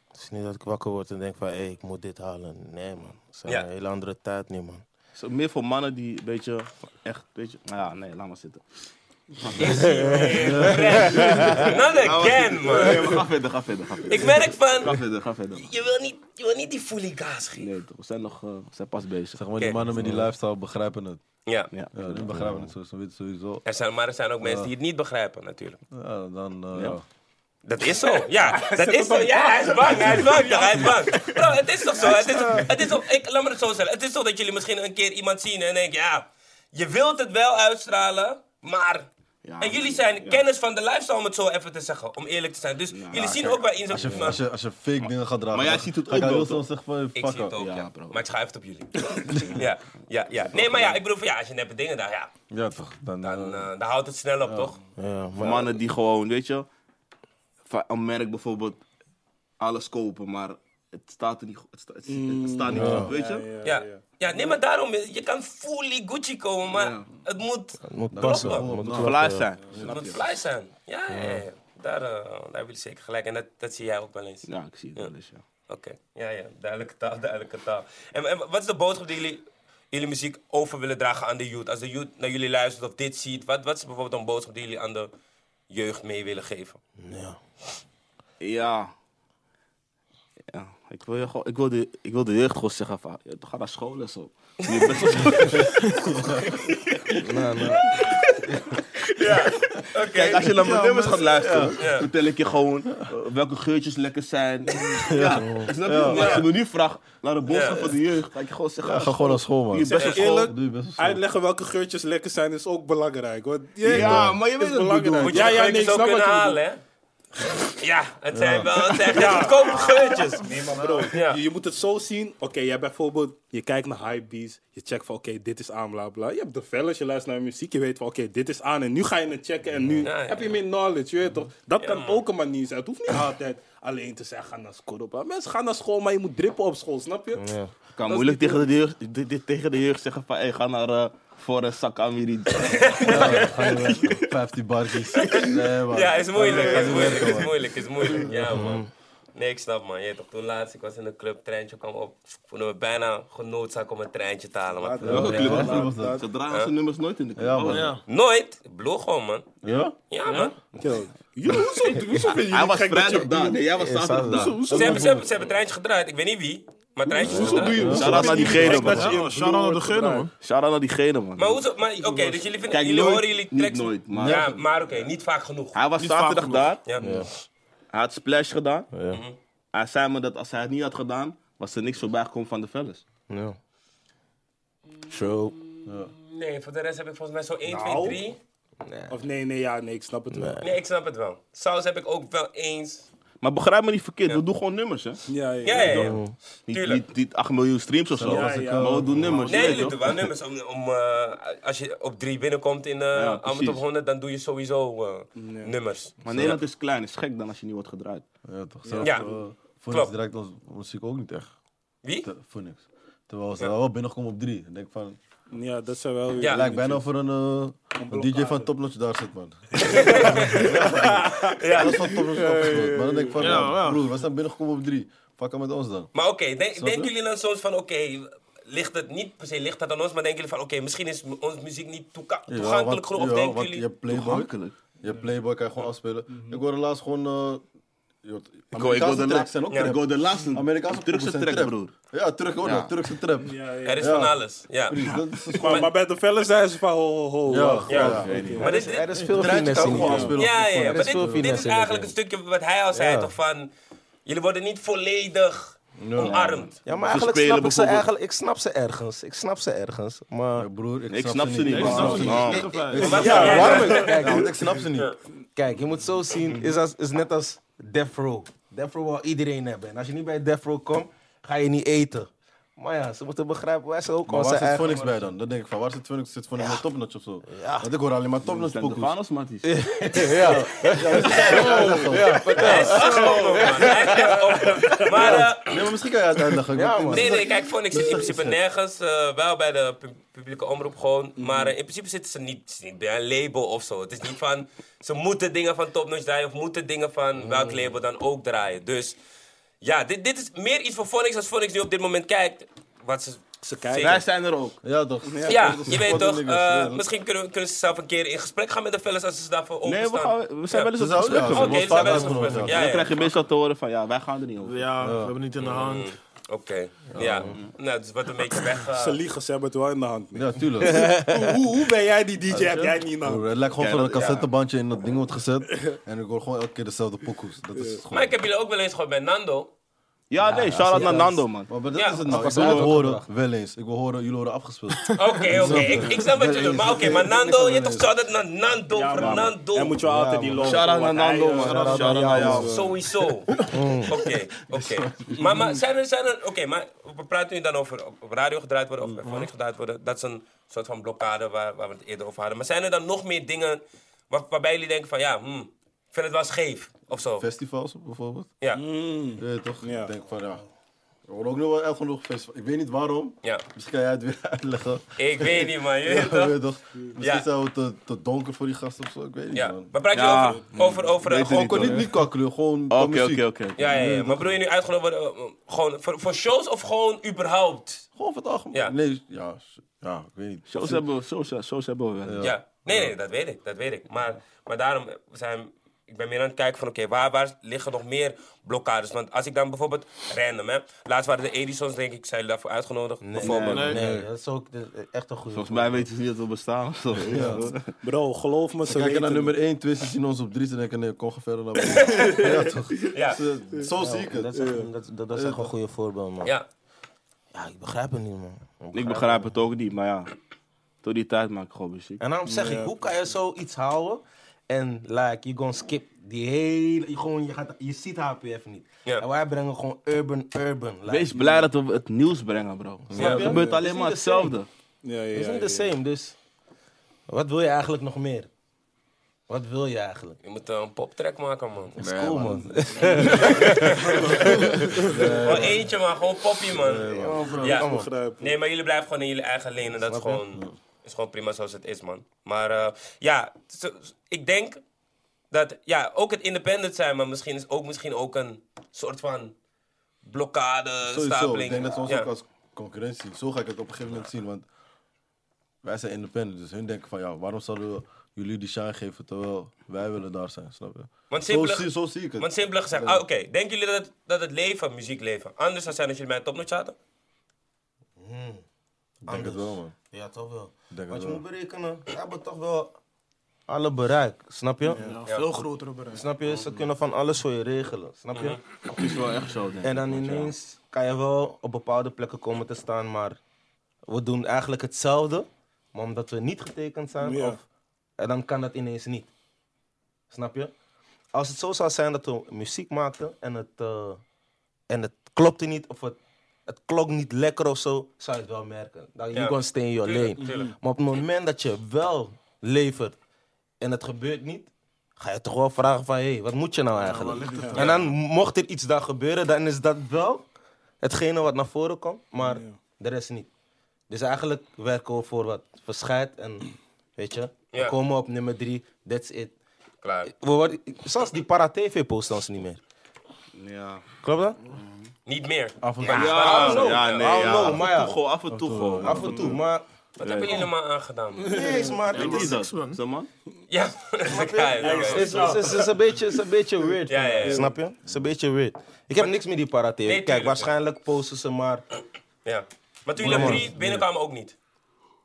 C: Het is niet dat ik wakker word en denk van, hé, ik moet dit halen. Nee, man. Het zijn
A: Ja.
C: een hele andere tijd nu, man.
D: Het is meer voor mannen die een beetje, echt, weet je, nou ja, nee, laat maar zitten.
A: Not again, man.
D: Nee, maar ga verder, ga verder, ga verder.
A: Ik merk
D: Ga
A: van,
D: verder, ga verder. man.
A: je wil niet, je wil niet die fooligans geven.
D: Nee, toch, we zijn nog, eh, we zijn pas bezig.
G: Zeg maar, die
A: Oké.
G: mannen met die lifestyle begrijpen het.
A: Ja.
D: Ja,
G: Ja, die begrijpen het sowieso. Ze weten sowieso.
A: Er zijn, maar er zijn ook mensen die het niet begrijpen, natuurlijk.
G: Ja, dan... eh,
D: Ja.
G: ja.
A: Dat is zo, ja. Dat is zo, ja. Hij is bang, hij is bang, toch, hij is bang. Bro, het is toch zo? Het is, het is toch, ik, laat me het zo zeggen. Het is zo dat jullie misschien een keer iemand zien en denken, ja... Je wilt het wel uitstralen, maar...
D: Ja,
A: en jullie zijn
D: ja.
A: kennis van de lifestyle, om het zo even te zeggen. Om eerlijk te zijn. Dus jullie zien ook Nou, bij
G: Als je,
A: Instagram...
G: als, je, als je fake dingen gaat dragen...
D: maar jij
G: dan
D: ziet het
G: ga
D: ook
G: ik aan
D: wel,
G: Wilson
D: toch?
G: zeggen van, hey,
A: Ik
G: fuck
A: zie het
G: off.
A: ook, ja.
D: Ja, bro.
A: Maar ik schuif het op jullie. ja, ja, ja. Nee, maar ja, ik bedoel van ja, als je neppe dingen daar, ja,
G: Ja, toch. Dan, eh,
A: dan, eh, dan houdt het snel op, toch?
C: Ja,
D: Voor
C: maar
D: mannen die gewoon, weet je, van een merk bijvoorbeeld alles kopen, maar het staat er niet, go- het sta- het, het staat niet goed, weet je?
A: Mm. Ja. Ja, nee, maar daarom, je kan fully Gucci komen, maar
D: Ja.
A: het moet, het
C: het moet passen.
A: klopt
C: het moet
D: Moet
C: kloppen.
D: verlaat zijn.
A: moet vlees zijn. Ja, ja, ja. Daar, eh, daar hebben jullie zeker gelijk. En dat, dat zie jij ook wel eens.
D: Ja, ik zie het wel eens, ja.
A: Oké, ja, ja. Duidelijke taal, duidelijke taal. En, en wat is de boodschap die jullie, jullie muziek over willen dragen aan de youth? Als de youth naar jullie luistert of dit ziet, wat, wat is bijvoorbeeld een boodschap die jullie aan de jeugd mee willen geven?
D: Ja. Ja, ik wil, je gewoon, ik, wil de, ik wil de jeugd gewoon zeggen van, ja, ga naar school en zo. Je bent
A: Oké,
D: Kijk, als je naar mijn nummers gaat luisteren, vertel ik je gewoon eh, welke geurtjes lekker zijn. Ja, snap je? Maar als je me nu vraagt naar de boodschap
A: Ja.
D: van de jeugd, ga ik je gewoon zeggen... "Ah,
G: ga gewoon naar school, man.
D: Je best
F: Zeg
D: op
F: je
D: school.
F: eerlijk,
G: Doe je best op school.
F: Uitleggen welke geurtjes lekker zijn is ook belangrijk, hoor. Ja,
D: Ja,
F: toch?
D: maar je weet
F: Is
D: wat ik bedoel.
A: Moet
F: belangrijk.
A: je
F: Ja,
A: de
F: ja, nee,
A: geurtjes
F: ik snap
A: ook
F: wat
A: kunnen
F: je bedoelt.
A: halen, hè? Ja, het zijn wel het zijn echt goedkope geurtjes.
F: Nee, maar bro,
A: Ja.
F: je, je moet het zo zien. Oké, jij bijvoorbeeld, je kijkt naar hypebeats. Je checkt van, oké, dit is aan, bla bla. Je hebt de fellas, je luistert naar muziek. Je weet van, oké, dit is aan. En nu ga je het checken en nu
A: Ja, ja,
F: heb je meer knowledge. Je weet toch? Dat kan ook een manier zijn. Het hoeft niet altijd alleen te zeggen, ga naar school. Op. Mensen gaan naar school, maar je moet drippen op school, snap je?
C: Ja.
D: Ik kan moeilijk tegen de, jeugd, de- de- tegen de jeugd zeggen van, hey, ga naar eh Forest Sakamiri.
G: Ja, ga je weg. 15 barkies. Nee, man.
A: Ja, is moeilijk,
G: Ga
A: is
G: je
A: moeilijk,
G: werken,
A: is
G: man.
A: moeilijk, is moeilijk. Ja, man. Nee, ik snap, man. Je, weet toch, toen laatst, ik was in een club, treintje kwam op. Voelden we bijna genoodzaakt om een treintje te halen, man.
D: Welke club was
G: Ja, was
D: dat?
G: dat?
D: Ze dragen zijn nummers nooit in de club. Oh,
G: Ja, man.
A: Nooit. Bloeg gewoon, man.
G: Ja?
A: Ja, man.
F: Yo, yo, hoezo, hoezo vind je
D: Hij
F: het
D: was
F: gek dat je...
D: vrijdag daar, nee, jij was zaterdag daar.
F: Hoezo,
A: Ze hebben, ze, hebben, ze hebben treintje gedraaid. Ik weet niet wie, maar treintjes gedraaid.
D: Shout-out naar diegene,
F: dat
D: man.
F: je-
B: Ja, shout-out naar de Gunner, man.
D: Shout-out naar diegene, man.
A: Maar hoezo? Maar oké, dus jullie, vinden,
D: Kijk,
A: jullie
D: nooit,
A: horen jullie
D: niet
A: tracks...
D: nooit, maar-
A: Ja, maar oké, niet vaak genoeg.
D: Hij was
B: Niet vaak
D: zaterdag
B: genoeg.
D: daar.
A: Ja.
D: Hij had Splash gedaan.
C: Ja.
D: Hij zei me dat als hij het niet had gedaan, was er niks voorbij gekomen van de fellas.
C: Ja. True.
A: Nee, voor de rest heb ik volgens mij zo 1,
F: Nou.
A: 2, 3...
F: Of nee, nee, ja, nee, ik snap het wel.
A: Nee, ik snap het wel. Saus heb ik ook wel eens.
D: Maar begrijp me niet verkeerd, we doen gewoon nummers, hè?
F: Ja, ja.
A: Ja, ja, ja.
D: Niet,
A: Tuurlijk.
D: niet, niet 8 miljoen streams of zo.
F: Ja, ja.
D: Maar we doen nummers.
A: Nee,
D: je
A: jullie
D: weet
A: doen
D: toch?
A: wel nummers. Om, om, eh, als je op drie binnenkomt in eh
D: Ja,
A: Amsterdam
D: precies.
A: 100, dan doe je sowieso eh, nummers.
D: Maar Nederland is klein, is gek dan als je niet wordt gedraaid.
G: Ja, toch. Zelf,
A: Ja.
G: eh, Voor
A: Klopt.
G: ons direct ons muziek ook niet echt.
A: Wie?
G: Te- voor niks. Terwijl ze wel binnenkomen op drie. Ik denk van,
F: Ja, dat zijn wel weer...
A: Ja.
G: lijkt bijna of er een, eh, een DJ van Topnotch daar zit, man. ja. Dat is van Topnotch opgesloten. Maar dan denk ik van, broer, we zijn binnengekomen op drie. Fuck hem met ons dan.
A: Maar oké, denk- denken jullie dan soms van, oké, ligt het niet per se ligt dat aan ons, maar denken jullie van, oké, misschien is m- onze muziek niet toeka-
G: Jawel,
A: toegankelijk
G: want-
A: genoeg, of
G: jawel,
A: denken
G: want
A: jullie...
G: Je hebt Playboy, je hebt Playboy, kan je gewoon afspelen. Ik hoorde laatst gewoon... eh, je hoort-
D: Mhm. Ik hoor- ik hoor
G: Amerikaanse
D: de
G: tracks
D: laatste.
G: zijn ook
D: Ik
G: trap.
D: hoor de laatste.
G: Amerikaanse
D: Turkse
G: poppen zijn
D: track, broer.
G: Ja, Turk, hoor,
D: Ja.
G: Turkse trap.
A: Er is
G: Ja.
A: van alles, ja.
G: Precies, dat is gewoon-
F: Maar, maar bij de vellen zijn ze van ho, ho, ho.
G: Ja,
F: wacht.
G: ja.
A: Maar dit,
C: Er
A: dit-
C: is veel
G: Draait
C: finesse
G: je kan
C: in
G: gewoon
C: die game.
G: afspelen.
A: ja, ja,
G: op
A: ja,
G: je
A: maar
C: is veel
A: dit, dit is
C: finesse in
A: eigenlijk een
C: dat
A: stukje wat hij al zei,
G: Ja.
A: toch, van... Jullie worden niet volledig omarmd.
C: Ja,
D: Ze
C: maar eigenlijk
D: spelen
C: snap ik ze
D: bijvoorbeeld-
C: eigenlijk, ik snap ze ergens. Ik snap ze ergens, maar...
G: phone. Broer,
D: Ik snap ze niet,
G: Ik
D: man.
G: snap ze niet.
D: Oh.
A: Wat zou jij
C: waarom?
A: doen?
C: Kijk,
G: Ja, want ik snap ze niet.
C: Kijk, je moet zo zien, is, als, is net als Death Row. Death Row wil iedereen hebben. En als je niet bij Death Row komt, ga je niet eten. Maar ja, ze moeten begrijpen, wij zijn ook
G: Maar
C: onze
G: waar zit
C: eigen...
G: Phonics bij dan? Dan denk ik van, waar zit Phonics? Zit Phonics met Topnotch of zo? Want ik hoor alleen maar Topnotch
D: Zijn de
G: pokoes.
D: Vanos, Matties.
A: Hij is afgelopen, man. Hij is afgelopen. Maar... eh,
G: Nee, maar misschien kan je het uitleggen. Ik
C: Ja,
G: ben-
C: man.
A: Nee, nee, kijk, Phonix zit in principe nergens. eh, wel bij de pub- publieke omroep gewoon. Maar eh, in principe zitten ze niet, ze niet bij een label of zo. Het is niet van, ze moeten dingen van Topnotch draaien... of moeten dingen van welk label dan ook draaien. Dus ja, dit, dit is meer iets voor Phonix als Phonix nu op dit moment kijkt. Wat ze, ze kijken.
D: Wij zijn er ook.
G: Ja, toch?
A: Ja,
G: Dat is
A: je weet
G: wat een
A: toch.
G: ding is.
A: eh,
G: Ja, dat-
A: misschien kunnen, we- kunnen ze zelf een keer in gesprek gaan met de fellas als ze daarvoor
D: Nee,
A: openstaan.
D: we, gaan, we zijn
A: Ja.
D: wel
G: Ze
D: eens op
G: zouden-
D: gesprek
G: ja, ze
A: Oké, ze
D: geweest.
G: worden vaak
A: zijn wel eens
G: uitgenodigd,
A: op gesprek,
G: ja.
A: ja.
D: Dan krijg je meestal te horen van, ja, wij gaan er niet over.
B: Ja, we hebben niet in de hand.
A: Oké, ja. Nou, dus wat een beetje weg... eh,
F: Ze liegen, ze hebben het wel in de hand.
G: Ja, tuurlijk.
F: hoe, hoe, hoe ben jij die DJ? Heb jij niet nou?
G: Broer, het lijkt gewoon
D: Ja,
G: van een
D: dat- ja.
G: cassettebandje in dat ding wordt gezet. En ik hoor gewoon elke keer dezelfde pokoes. Dat is het gewoon.
A: Maar ik heb jullie ook wel eens gehoord bij Nando.
D: Ja, nee, shout-out naar Nando, man.
G: Maar dat
A: Ja.
G: is het nou. Ik
C: was
G: wil
C: uit
G: het horen, wel eens. Ik wil horen, jullie horen afgespeeld.
A: Oké, oké. Ik, ik snap wat je bedoelt. Maar oké, maar Nando, je hebt toch shout out naar Nando, Fernando.
F: Jij moet je altijd die lopen.
D: Shout-out naar
F: want hij,
D: Nando,
F: eh,
D: man. Shout-out naar jou.
A: Sowieso. Oké, oké. Maar, maar zijn er, zijn er oké, maar we praten nu dan over op op radio gedraaid worden of van niks gedraaid worden. Dat is een soort van blokkade waar, waar we het eerder over hadden. Maar zijn er dan nog meer dingen waar- waarbij jullie denken van ja, hmm, ik vind het wel scheef of zo?
G: Festivals bijvoorbeeld.
A: Ja, Mm.
G: Je weet toch?
F: Ja.
G: Ik denk van ja. Er worden ook nog wel echt genoeg festivals. Ik weet niet waarom.
A: ja.
G: Misschien kan jij het weer uitleggen.
A: Ik weet niet, man. Je
G: Ja,
A: weet
G: je
A: toch?
G: weet toch? Misschien
A: Ja.
G: zijn we te, te donker voor die gasten of zo. Ik weet niet.
A: Ja.
G: man.
A: Maar praat je
D: Ja.
A: over, over, over
D: Weet
A: eh,
D: je
A: gewoon
G: Gewoon kon niet, niet qua kleur, gewoon qua
D: Oké, oké,
G: muziek.
D: oké.
A: Ja, ja, ja. Maar bedoel je nu uitgenodigd worden eh, gewoon voor, voor shows of gewoon überhaupt?
G: Gewoon van het algemeen.
A: Ja.
G: Nee, ja, ja, ik weet niet.
D: Shows hebben we, shows, ja, shows hebben we wel.
A: Ja. Nee, nee, dat weet ik. Dat weet ik. Maar, maar daarom zijn... Ik ben meer aan het kijken van, oké, waar, waar liggen nog meer blokkades? Want als ik dan bijvoorbeeld... Random, hè. Laatst waren de Edisons, denk ik, zijn jullie daarvoor uitgenodigd? bijvoorbeeld.
C: Nee, dat is ook dat is echt een goede.
D: Volgens mij weten ze niet dat we bestaan. of zo. Ja.
F: Bro, geloof me, ze
G: Kijken
F: weten
G: naar
F: het.
G: nummer 1, twee, ze zien ons op 3, ze denken nee, kom ga verder naar boven. ja, toch?
A: Ja.
G: Ze- Zo zie ik
C: Dat
G: het.
C: is echt, dat, dat, dat is echt een goede voorbeeld, man.
A: Ja.
C: Ja, ik begrijp het niet, man.
D: Ik begrijp het ook niet, maar ja. Tot die tijd maak ik gewoon muziek.
C: En daarom zeg ik, hoe kan je zoiets houden en like, je gewoon skip die hele, je, gewoon, je, gaat, je ziet HPF niet.
A: Ja.
C: En wij brengen gewoon urban, urban. Like.
D: Wees blij dat we het nieuws brengen, bro. Het gebeurt alleen maar hetzelfde.
F: Ja, ja,
C: Het is
F: ja,
C: niet the
F: ja.
C: same, dus wat wil je eigenlijk nog meer? Wat wil je eigenlijk?
A: Je moet eh, een poptrack maken, man.
C: Dat is cool, man.
G: Eh,
A: Gewoon Oh, eentje, man. Gewoon poppie, man. ja.
C: Kom op.
A: Nee, maar jullie blijven gewoon in jullie eigen lane. En dat is gewoon, is gewoon prima zoals het is, man. Maar eh, ja, zo- zo- ik denk dat... Ja, ook het independent zijn, maar misschien is ook, misschien ook een soort van blokkade,
G: Sowieso,
A: stapeling.
G: ik denk dat ze ons
A: Ja.
G: ook als concurrentie zien. Zo ga ik het op een gegeven moment zien, want wij zijn independent. Dus hun denken van ja, waarom zouden we jullie die shine geven terwijl wij willen daar zijn, snap je?
A: Want
G: Zo
A: simpelig-
G: zie, zo zie ik het.
A: Want simpel gezegd, ah, oké, denken jullie dat, dat het leven, muziekleven, anders zou zijn als jullie bij een topnotch zaten?
G: ik denk het wel, man.
C: Hmm. Ja, toch wel.
G: denk
C: Want je
G: het
C: moet berekenen, ze hebben toch wel alle bereik, snap je?
B: Veel grotere bereik.
C: Snap je? Ze kunnen van alles voor je regelen, snap je?
D: Het is wel echt zo, denk ik.
C: En dan ineens kan je wel op bepaalde plekken komen te staan, maar we doen eigenlijk hetzelfde, maar omdat we niet getekend zijn,
F: Ja.
C: of, en dan kan dat ineens niet. Snap je? Als het zo zou zijn dat we muziek maakten en het, eh, en het klopte niet, of het, het klonk niet lekker of zo, zou je het wel merken. Dan you
A: Ja.
C: gonna stay in your
A: Tuurlijk,
C: lane.
A: tuurlijk.
C: Maar op het moment dat je wel levert en het gebeurt niet, ga je toch wel vragen van, hé, hey, wat moet je nou eigenlijk? en dan mocht er iets daar gebeuren, dan is dat wel hetgene wat naar voren komt, maar de rest niet. Dus eigenlijk werken we voor wat verscheid en weet je,
A: Ja.
C: we komen op nummer drie, that's it.
A: Klaar.
C: We worden, zelfs die para-tv post ons niet meer.
D: Ja.
C: Klopt dat?
A: Niet meer.
G: Af en toe.
A: Ja,
D: Ja,
A: hallo.
D: ja, nee,
C: Hallo,
D: ja.
C: maar
D: Af en
C: ja.
D: toe gewoon, af en toe gewoon.
C: Af en toe, maar...
A: Wat hebben jullie nou maar aangedaan? man?
C: Nee, is maar...
D: Weet
C: Het
D: je
C: is,
D: dat?
B: Niks, man.
D: Zo man?
A: Ja,
C: het
A: oké.
C: is, het is, het is een beetje, het is een beetje weird.
A: Ja, ja, ja.
C: Snap je? Het is een beetje weird. Ik heb niks met die para-tv. Kijk,
A: tuurlijk.
C: waarschijnlijk posten ze maar...
A: Ja. Maar toen jullie op drie binnenkwamen ook niet?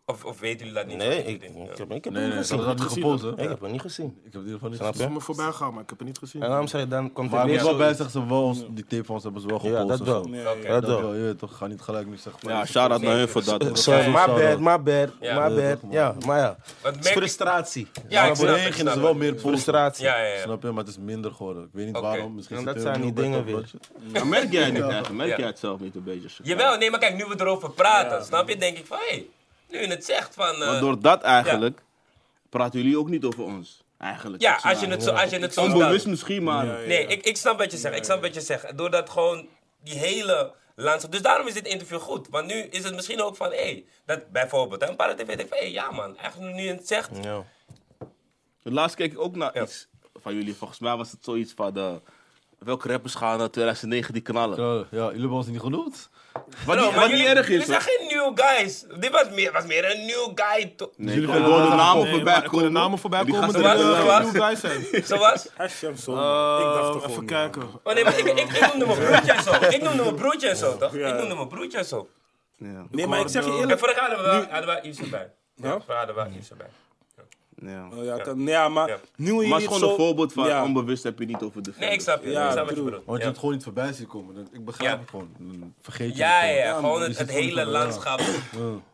A: Of, of weten jullie dat niet?
C: Nee, ik, ik heb, ik heb
G: Nee,
C: het
G: nee,
C: niet
G: ze hadden
C: gezien.
G: dat niet gepost, hè? Ik
C: Ik
G: heb
C: heb het niet gezien.
G: het in ieder geval niet
C: Snap
G: gepost.
B: Ik
C: je?
B: ben me voorbij gegaan, maar ik heb het niet gezien.
C: En daarom zeg ik, dan komt
G: Maar
C: er
G: ik
C: weer
G: moet wel bij
C: zoiets.
G: zeggen, ze wel ons- die tape van ons hebben ze wel gepost.
C: Ja,
G: dus-
C: dat
G: of
C: wel.
G: zo.
A: Oké.
C: Dat
G: Dat wel,
C: wel.
G: je weet toch, ga niet gelijk nu zeggen van...
D: Ja, shout-out naar hun voor dat.
C: Eh,
D: hoor.
C: Sorry, my
G: Sorry.
C: bad, my bad,
A: Ja.
C: my bad. Ja, maar ja.
A: Wat
C: Het is
A: merk-
C: frustratie.
A: Ja, ik
G: Maar
A: snap
G: voorheen
A: het.
G: gingen
A: snap
G: ze wel
A: het.
G: meer posten.
C: Frustratie.
A: Ja, ja, ja.
G: Snap je, maar het is minder geworden. Ik weet niet
A: Oké.
G: waarom. Misschien
C: En
G: zit
C: dat
G: er
C: zijn
G: heel
C: die
G: veel
C: dingen
G: bij
C: weer.
G: dat je-
D: Ja, merk jij het niet eigenlijk? Merk
A: Ja.
D: jij het zelf niet een beetje? Shakira?
A: Jawel, nee, maar kijk, nu we erover praten, snap je? Denk ik van, hé, hey, nu je het zegt van... eh,
D: Maar door dat eigenlijk praten jullie ook niet over ons. Eigenlijk.
A: ja,
D: Dat is
A: als je
D: waar.
A: het zo, als je het zo stelt.
D: Onbewust misschien, maar.
A: Nee, ik, ik snap wat je zegt. Ik snap wat je zegt. Doordat gewoon die hele landschap. Dus daarom is dit interview goed. Want nu is het misschien ook van, hé, hey, dat bijvoorbeeld. hè, Een paar tv denkt van, hé, ja man, echt nu je het zegt.
C: Ja.
D: Laatst keek ik ook naar
A: Ja.
D: iets van jullie. Volgens mij was het zoiets van. eh, welke rappers gaan naar 2009 die knallen?
G: Ja, jullie hebben ons niet genoemd.
D: Wat,
A: Bro,
D: niet, wat niet erg
A: Jullie
D: is.
A: zijn
D: hoor.
A: geen new guys. Dit was meer, was meer een new guy. to-
D: Nee, jullie kunnen gewoon de namen voorbij
B: Ik kon de
D: komen.
B: namen voorbij
D: Die
B: komen.
D: gasten
B: die,
A: waren
B: eh,
A: er wel.
B: nieuwe guys zijn.
A: Zoals?
F: Hashem, zo.
B: Eh,
F: ik dacht er
B: even
F: gewoon niet aan.
B: kijken.
A: Oh nee, maar ik, ik, ik noemde mijn broertje en zo. Ik noemde mijn broertje en zo, toch? Ik noemde mijn broertje en zo.
F: Nee, maar ik zeg je
A: En
F: eerlijk.
A: vorig jaar hadden we wel- hadden we wel Yves erbij. Ja, vorig jaar hadden we wel Yves erbij.
D: Ja.
F: Oh, ja, kan- nee, ja, maar
A: Ja.
F: nieuwe
D: Maar het is
F: hier zo-
D: gewoon een voorbeeld van
F: Ja.
D: onbewust heb je niet over de
A: Nee, ik
D: verder.
A: snap je.
F: Ja,
A: ik snap wat je
F: true.
A: bedoelt.
G: Want
A: Ja.
G: je hebt het gewoon niet voorbij zien komen. Dat- Ik begrijp
A: Ja.
G: het gewoon. Dan Vergeet je
A: Ja, ja,
G: het gewoon.
A: ja, gewoon het,
G: zit
A: het
G: gewoon
A: hele
G: van, ja.
A: landschap.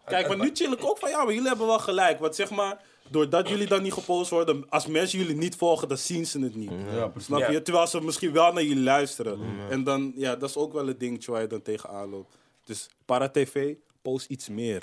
F: Kijk, maar nu chill ik ook van ja, maar jullie hebben wel gelijk. Want zeg maar, doordat jullie dan niet gepost worden, als mensen jullie niet volgen, dan zien ze het niet.
G: Ja, precies.
F: Snap
A: Ja.
F: je? Terwijl ze misschien wel naar jullie luisteren. En dan, ja, dat is ook wel een dingetje waar je dan tegenaan loopt. Dus para-tv, post iets meer.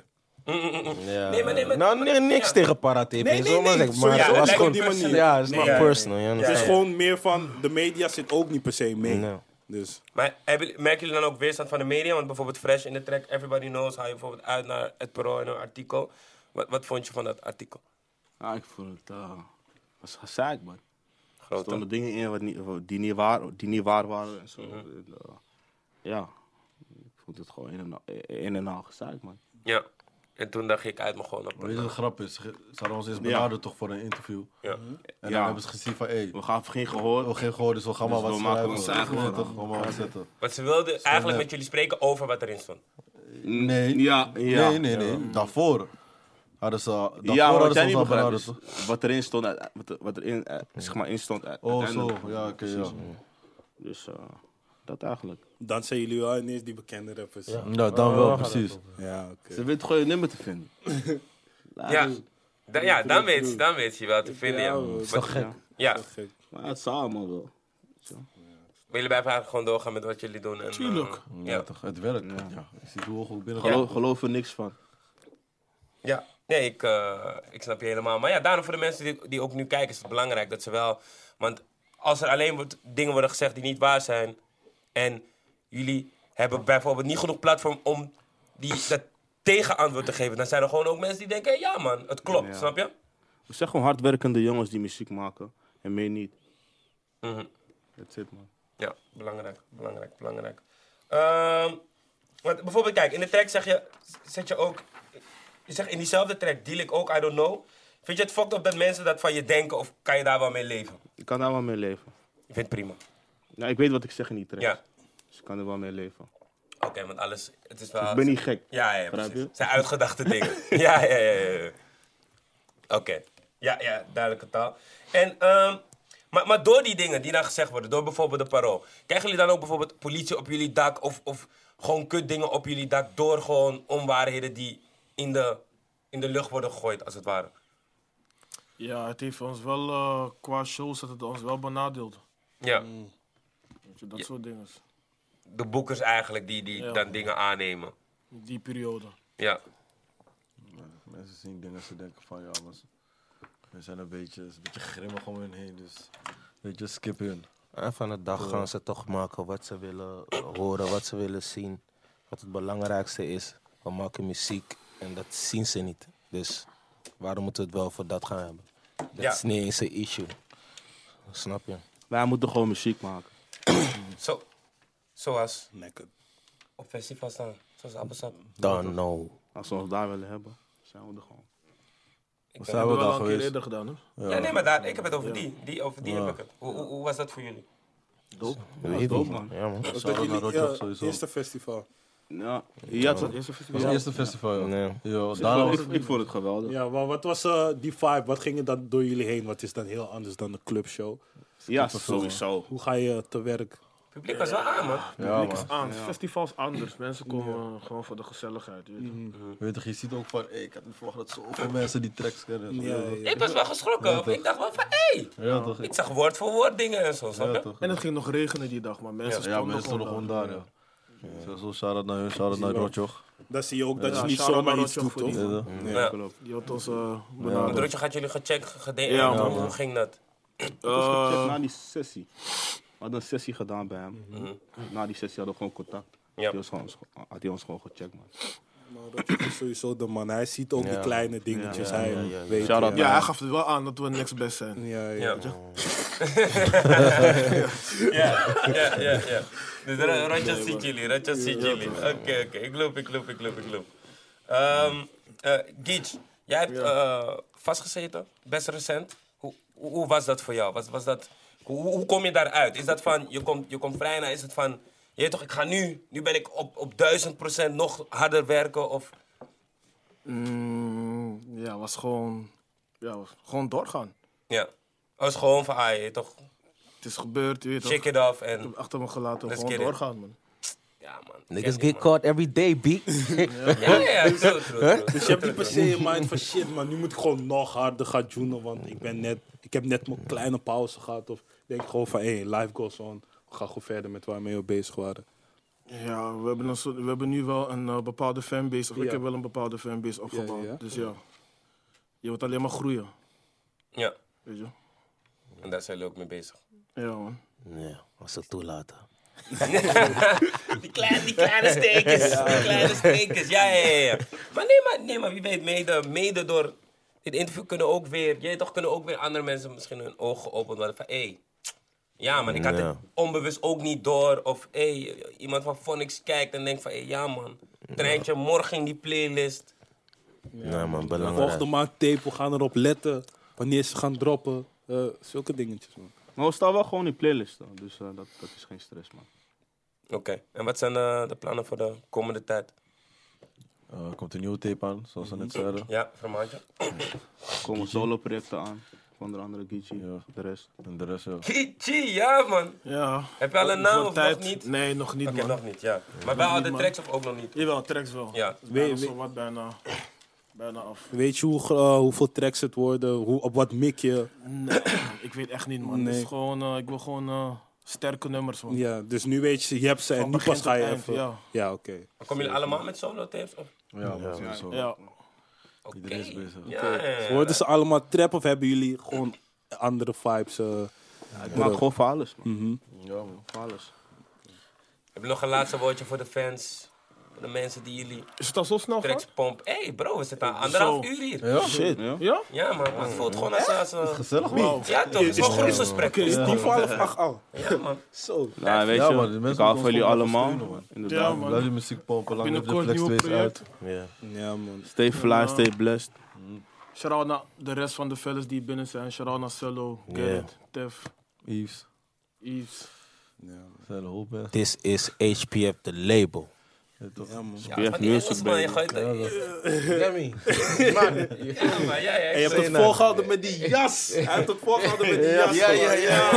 A: Nee, maar nee, maar...
C: Nou, nee, niks
A: Ja.
C: tegen para-tv.
F: Nee, nee,
C: zomaar
F: nee,
C: zeg,
F: sorry,
C: maar
A: ja,
C: het
A: het
C: was
A: lijkt
C: gewoon...
A: op personal.
C: Ja, het is
A: Nee,
C: not
A: ja, ja.
C: personal. je
F: Het is
C: understand?
F: gewoon meer van, de media zit ook niet per se mee.
C: Nee.
F: Dus,
A: Maar hebben, merken jullie dan ook weerstand van de media? Want bijvoorbeeld Fresh in de track, Everybody Knows, haal je bijvoorbeeld uit naar het parool en een artikel. Wat, wat vond je van dat artikel?
D: Ah, ik vond het. eh, was gezaak, man. Er
A: Groot, hè?
D: stonden dingen in wat niet, wat- die, niet waar, die niet waar waren en zo. En, eh, ja, ik vond het gewoon een en al, een en al gezaak, man.
A: Ja. En toen dacht ik uit me gewoon op.
G: Weet je wat de grap is? Ze ge- ze hadden ons eerst benaderd toch voor een interview.
A: Ja.
G: En
D: Ja.
G: dan hebben ze gezien van, hé,
D: We gaven geen
G: we
D: gehoor.
G: geen gehoord, dus we gaan maar
D: Dus
G: wat
D: we maken
G: schrijven.
D: ons
G: We
D: eigen
G: gaan
D: verhaal.
G: toch allemaal wat zetten.
A: Want ze wilden eigenlijk met jullie spreken over wat erin stond.
G: Nee.
D: Mm, Ja, ja.
G: Nee, nee, nee. Daarvoor hadden ze al- daarvoor
D: Ja, wat
G: hadden ze
D: jij
G: ons
D: niet
G: al
D: begrijpt
G: benaderd.
D: is
G: toch?
D: wat erin stond, uit- wat, wat erin, eh, zeg maar, in stond. uit-
G: Oh,
D: uiteindelijk.
G: zo. Ja, oké, ja.
D: Dus eh, dat eigenlijk.
F: dan zijn jullie wel ineens die bekende rappers. Ja,
G: Ja, dan wel, precies.
F: oké.
D: Ze weten gewoon je nummer te vinden.
A: Ja. Da- ja, dan weet, je- dan weet je wel te vinden. Ja,
F: man.
A: Maar- ja. maar
F: Gek.
D: Maar het zal allemaal wel.
A: jullie blijven eigenlijk gewoon doorgaan met wat jullie doen. En, Tuurlijk. ja.
G: Ja, toch. Het werkt. Ja. Ik zie hoe goed binnen.
D: Geloof, geloof er niks van.
A: Ja, nee, ik, eh, ik snap je helemaal. Maar ja, daarom voor de mensen die, die ook nu kijken, is het belangrijk dat ze wel. Want als er alleen wordt, dingen worden gezegd die niet waar zijn. En jullie hebben bijvoorbeeld niet genoeg platform om die, dat tegenantwoord te geven. Dan zijn er gewoon ook mensen die denken: hé, ja, man, het klopt,
D: Ja.
A: snap je?
D: We zijn gewoon hardwerkende jongens die muziek maken. En meer niet.
A: Mhm.
D: That's it, man.
A: Ja, belangrijk, belangrijk, belangrijk. Ehm, want bijvoorbeeld, kijk, in de track zeg je, zet je ook, je zegt in diezelfde track deal ik ook, I don't know. Vind je het fucked op dat mensen dat van je denken of kan je daar wel mee leven?
D: Ik kan daar wel mee leven.
A: Ik vind het prima.
D: Nou, ik weet wat ik zeg in die track.
A: Ja,
D: Dus ik kan er wel mee leven.
A: oké, want alles, het is wel...
D: Ik ben niet gek.
A: Ja, ja, ja,
D: Begrijp
A: precies.
D: je?
A: Het zijn uitgedachte dingen. ja, ja, ja, ja. ja. Oké. Ja, ja, duidelijke taal. En, ehm, maar, maar door die dingen die dan gezegd worden, door bijvoorbeeld de parool, krijgen jullie dan ook bijvoorbeeld politie op jullie dak of, of gewoon kutdingen op jullie dak door gewoon onwaarheden die in de, in de lucht worden gegooid, als het ware?
B: Ja, het heeft ons wel, eh, qua shows, dat het ons wel benadeeld.
A: Ja,
B: Weet je, dat soort dingen.
A: Mm. de boekers eigenlijk die, die
B: Ja.
A: dan dingen aannemen.
B: Die periode.
A: Ja.
G: Mensen zien dingen, ze denken van, ja, maar ze- we zijn een beetje, is een beetje grimmig om hun heen. Dus, weet je, skip hun.
C: Eh, En van de dag gaan ze toch maken eh, wat ze willen horen, wat ze willen zien. wat het belangrijkste is. We maken muziek en dat zien ze niet. Dus waarom moeten we het wel voor dat gaan hebben? Dat
A: Ja.
C: is niet eens een issue. Snap je?
D: Wij moeten gewoon muziek maken.
A: Zo. Zoals
F: Lekker.
A: op festival staan. Zoals Appelsap.
C: Dan no.
D: Als we ons daar willen hebben, zijn we er gewoon.
A: Ik
G: We
A: ben-
G: zijn wel
B: We hebben
G: daar
B: al een keer
G: geweest.
B: eerder gedaan, hè?
A: Ja, nee, maar daar, ik heb het over die. die over die heb ik het. Hoe, hoe, hoe was dat voor jullie?
C: Weet
D: dope,
C: niet.
D: man.
C: Ja, man.
F: Dat
G: Shout-out
F: jullie
G: naar Rotjoch
F: ja,
G: sowieso.
F: eerste festival.
D: Ja, ja het was eerste
G: was
D: festival.
G: het eerste festival, ja.
C: Nee.
G: Ja,
D: Ik
G: daarna
D: vond-
G: was
D: ik, ik vond het geweldig. Ja,
F: Ja, maar wat was eh, die vibe? Wat ging er dan door jullie heen? Wat is dan heel anders dan een clubshow?
D: sowieso.
F: Hoe ga je te werk?
A: Het publiek was wel aan, man.
G: Ja,
B: Niks
G: man.
B: aan. Festival is anders. Mensen komen gewoon voor de gezelligheid. weet je.
G: Weet je, je ziet ook van, hey, ik had niet verwacht dat zoveel mensen die tracks kennen. Ja, toch?
A: Ik was wel geschrokken. ik dacht wel van, hé.
G: ja toch?
A: Ik zag woord voor woord dingen en zo, snap
G: Ja,
A: je?
G: toch?
B: En het ging nog regenen die dag, maar mensen
G: Ja,
B: stonden
G: mensen stonden gewoon daar, ja. Sowieso, shout-out naar hun, shout-out naar Rotjoch.
F: Dan zie je ook dat
B: Ja,
F: je niet
B: shout-out
F: zomaar
B: naar
F: iets doet,
B: Rotjoch voor
F: toch?
B: die-
G: Ja, toch?
A: Ja.
B: Die had ons eh,
A: Want
B: benaderd.
A: Rotje gaat jullie gecheckt, gedaan.
B: Ja, man.
A: Hoe ging dat?
D: was gecheckt
A: Eh.
D: na die sessie. We hadden een sessie gedaan bij hem. Na die sessie hadden we gewoon contact.
A: Mhm. Ja.
D: Die was gewoon, had hij ons gewoon gecheckt, man.
F: Maar Rotjoch Nou, is dus sowieso de man. Hij ziet ook die kleine dingetjes. hij weet
D: Shout-out
B: Ja, hij gaf het wel aan dat we niks best zijn.
F: Ja, ja.
A: Ja. ja, ja, ja, ja. Dus Ra- Rotjas ziet jullie, Rotjas ziet jullie. Oké, oké. Ik loop, ik loop, ik loop, ik loop. Ehm eh Gietj, jij hebt eh, vastgezeten, best recent. Hoe, hoe, hoe was dat voor jou? Was, was dat, hoe, hoe kom je daaruit? Is dat van, je komt, je komt vrij naar, is het van... Je weet toch, ik ga nu, nu ben ik op, op 1000% nog harder werken of...
B: Mm, ja, was gewoon, ja, was gewoon doorgaan.
A: Ja. Als gewoon van, ah, je weet toch,
B: Het is gebeurd, je weet toch.
A: shake
B: Ik
A: it off
B: heb
A: en...
B: het achter me gelaten,
A: Let's
B: gewoon
A: get it.
B: doorgaan, man.
A: Ja, man.
C: Niggas
A: Ken je,
C: get caught every day, B.
A: man. Ja, ja, ja, true, true, true.
F: Dus je hebt niet per se in mind van shit, maar nu moet ik gewoon nog harder gaan joenen, want ik, ben net, ik heb net mijn kleine pauze gehad. Of denk gewoon van, hé, hey, life goes on. Ik ga gewoon verder met waarmee we bezig waren.
B: Ja, we hebben, een soort, we hebben nu wel een eh, bepaalde fanbase, of ik
F: Ja.
B: heb wel een bepaalde fanbase opgebouwd.
F: ja.
B: Dus ja, je wordt alleen maar groeien,
A: Ja.
B: weet je.
A: En daar zijn jullie ook mee bezig.
B: Ja, man.
C: Nee, als ze toelaten.
A: Die kleine, die kleine steekjes. Die kleine steekjes. Ja, ja, ja. ja. Maar, nee, maar nee, maar wie weet, mede, mede door dit interview kunnen ook weer... Jij toch kunnen ook weer andere mensen misschien hun ogen openen. worden Van, hé, hey, ja man, ik had het
C: Ja.
A: onbewust ook niet door. Of hé, hey, iemand van Phonics kijkt en denkt van... Hé, hey, ja man, treintje morgen in die playlist.
C: Nee, man, belangrijk.
F: Volgende maand tape, we gaan erop letten. Wanneer ze gaan droppen. eh, zulke dingetjes, man.
D: Maar we staan wel gewoon in playlist, dan. dus eh, dat, dat is geen stress, man.
A: Oké, en wat zijn eh, de plannen voor de komende tijd?
G: Eh, Er komt een nieuwe tape aan, zoals we net zeiden.
A: Ja, Vermaantje?
D: Er komen solo-projecten aan, van de andere Gigi,
G: Ja.
D: de rest.
G: En de rest, ja.
A: Kichi, ja man.
B: Ja.
A: Heb je al een
B: Voor
A: naam of
B: tijd-
A: Oh, nog niet? Oké,
B: Nee, nog niet, man.
A: nog niet, ja. Maar wel al de
B: man.
A: tracks of ook nog niet?
B: Jawel, tracks wel.
A: Ja.
B: Het is bijna
F: Weet- weet-
B: zo wat bijna, bijna af.
F: Weet je hoe, gro- eh, hoeveel tracks het worden? Hoe, op wat mik je?
B: ik weet echt niet, man. Het
F: Nee.
B: is gewoon, eh, ik wil gewoon eh, sterke nummers, man.
F: Ja, dus nu weet je, je hebt ze en
B: Van
F: nu
B: begin
F: pas ga
B: tot
F: je
B: eind,
F: even...
B: ja.
F: Ja, oké.
A: Komen jullie allemaal met solo tapes? Of?
G: Ja, man, sowieso.
B: Ja,
A: Oké.
G: Iedereen is bezig.
A: Ja, ja, ja.
F: Eh, Worden ze allemaal trap of hebben jullie gewoon andere vibes? eh?
D: Ik maak gewoon voor alles, man.
G: Ja, man.
D: Voor alles.
A: Heb je nog een laatste woordje voor de fans? Voor de mensen die jullie
B: Is het al zo snel
A: tracks
B: gegaan?
A: pompen? Hé hey bro, we zitten aan anderhalf
B: Zo.
A: uur hier.
G: Ja? Shit.
B: Ja?
A: Ja man, maar het voelt gewoon als... als eh,
G: Gezellig, man.
B: Wauw.
A: ja toch, het is wel een groepsgesprek.
F: Is die voor half acht al?
A: Ja man.
F: Zo.
D: Nou, weet
G: Ja,
D: je,
G: man, die mensen
D: ik hou
G: moeten
D: van jullie
G: ons gewoon even
D: allemaal.
G: steunen, man.
B: Ja,
D: Inderdaad.
B: man.
G: Blijf je muziek pompen, lang heb je
B: Binnenkort
G: Flex
B: nieuw
G: 2 uit.
B: project.
C: Ja.
F: Ja, man.
D: Stay fly, stay blessed.
B: Shout-out naar de rest van de fellas die binnen zijn. Shout-out naar Cello, Gerrit, Tef,
G: Yves.
B: Yves.
G: Er zijn een hoop mensen.
C: This is HPF, de label.
G: Ja, toch?
A: Ja,
D: hebt
A: van die
D: music,
A: Engels man, je gooit...
C: Lemmy.
A: Ja man, ja, ja.
F: En je hebt het volgehouden met die jas. Hij heeft het volgehouden met die jas.
G: Ja, ja, ja.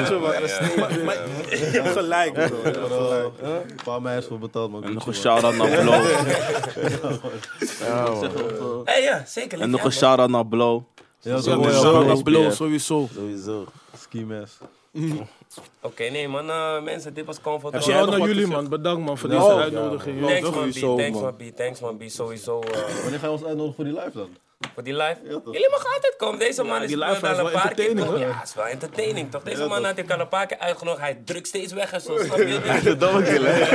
F: Maar, maar je hebt gelijk, bro.
G: Een paar meisjes voor betaald, man.
D: En nog een
G: Gucci,
D: shout-out naar Blow.
A: Hé ja, zeker. lief,
D: en nog
A: ja, man.
D: een shout-out naar Blow.
G: man. Ja,
B: Ja,
G: zo
B: de
G: mooi.
B: shout-out naar
D: SPF.
B: Blow sowieso.
C: Sowieso.
G: Ski mask.
A: Oké, nee man, eh, mensen, dit was Comfort.
F: jij
B: Shout-out
F: nog
B: naar
F: wat
B: jullie,
F: te
B: man. Bedankt, man, voor
G: Ja,
B: deze
G: man.
B: uitnodiging.
A: Thanks
B: Ja,
A: man B,
F: sowieso,
A: thanks
F: man.
A: man B, thanks man B, sowieso. eh,
G: Wanneer ga je ons uitnodigen voor die live dan?
A: Voor die live? Jullie mogen altijd komen. Deze man is
B: die live
A: al
B: is
A: een paar
B: wel
A: keer.
B: entertaining,
A: komen.
B: hoor.
A: Ja, is wel entertaining toch? Deze man had ik al een paar keer uitgenodigd. Hij drukt steeds weg en zo. Snap je? Dus
D: De domme killer.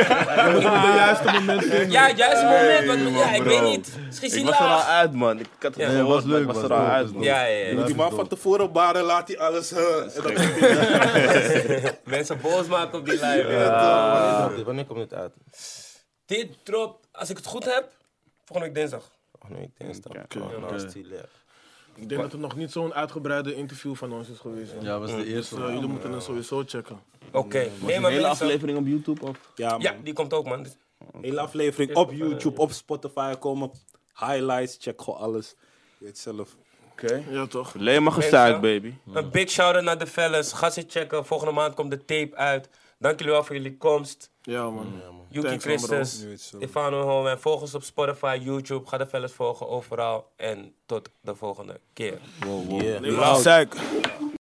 A: Ja, juist het moment. Want, ja, ik weet niet. Misschien
D: Ik
A: zien
D: was er al
A: laag.
D: uit, man. Ik had het
A: Ja.
D: ja,
A: Nee,
G: was leuk,
D: Ik was
G: was
D: er al
G: dope,
D: uit,
G: was
D: man.
G: dope.
A: Ja, ja, ja.
F: Die man van tevoren baren laat hij alles. eh, en dat-
A: Mensen boos maken op die live.
C: Wanneer komt dit- Wanneer komt dit uit?
A: Dit drop, als ik het goed heb, volgende week dinsdag.
C: Oh nee, ik denk dat. Oh, nasty, ja.
B: Ik denk dat het nog niet zo'n uitgebreide interview van ons is geweest. man.
G: Ja, dat was de eerste.
B: Dus, eh, jullie moeten het sowieso checken.
A: Oké. Nee, maar
D: Hele
A: mensen-
D: aflevering op YouTube of?
F: Ja, man.
A: Ja, die komt ook, man. Dus
F: Hele aflevering op YouTube, op Spotify komen. Highlights, check gewoon alles. Je weet zelf.
B: Ja, toch?
D: Alleen maar
A: gestuurd,
D: gestuurd, baby.
A: Een big shout-out naar de fellas. Ga ze checken. Volgende maand komt de tape uit. Dank jullie wel voor jullie komst.
B: Ja, man.
A: Yuki
B: Thanks, man, bro.
A: Christus, Stefano Holm. En volg ons op Spotify, YouTube. Ga de fellas volgen overal. En tot de volgende keer.
C: Yeah.
B: Suik.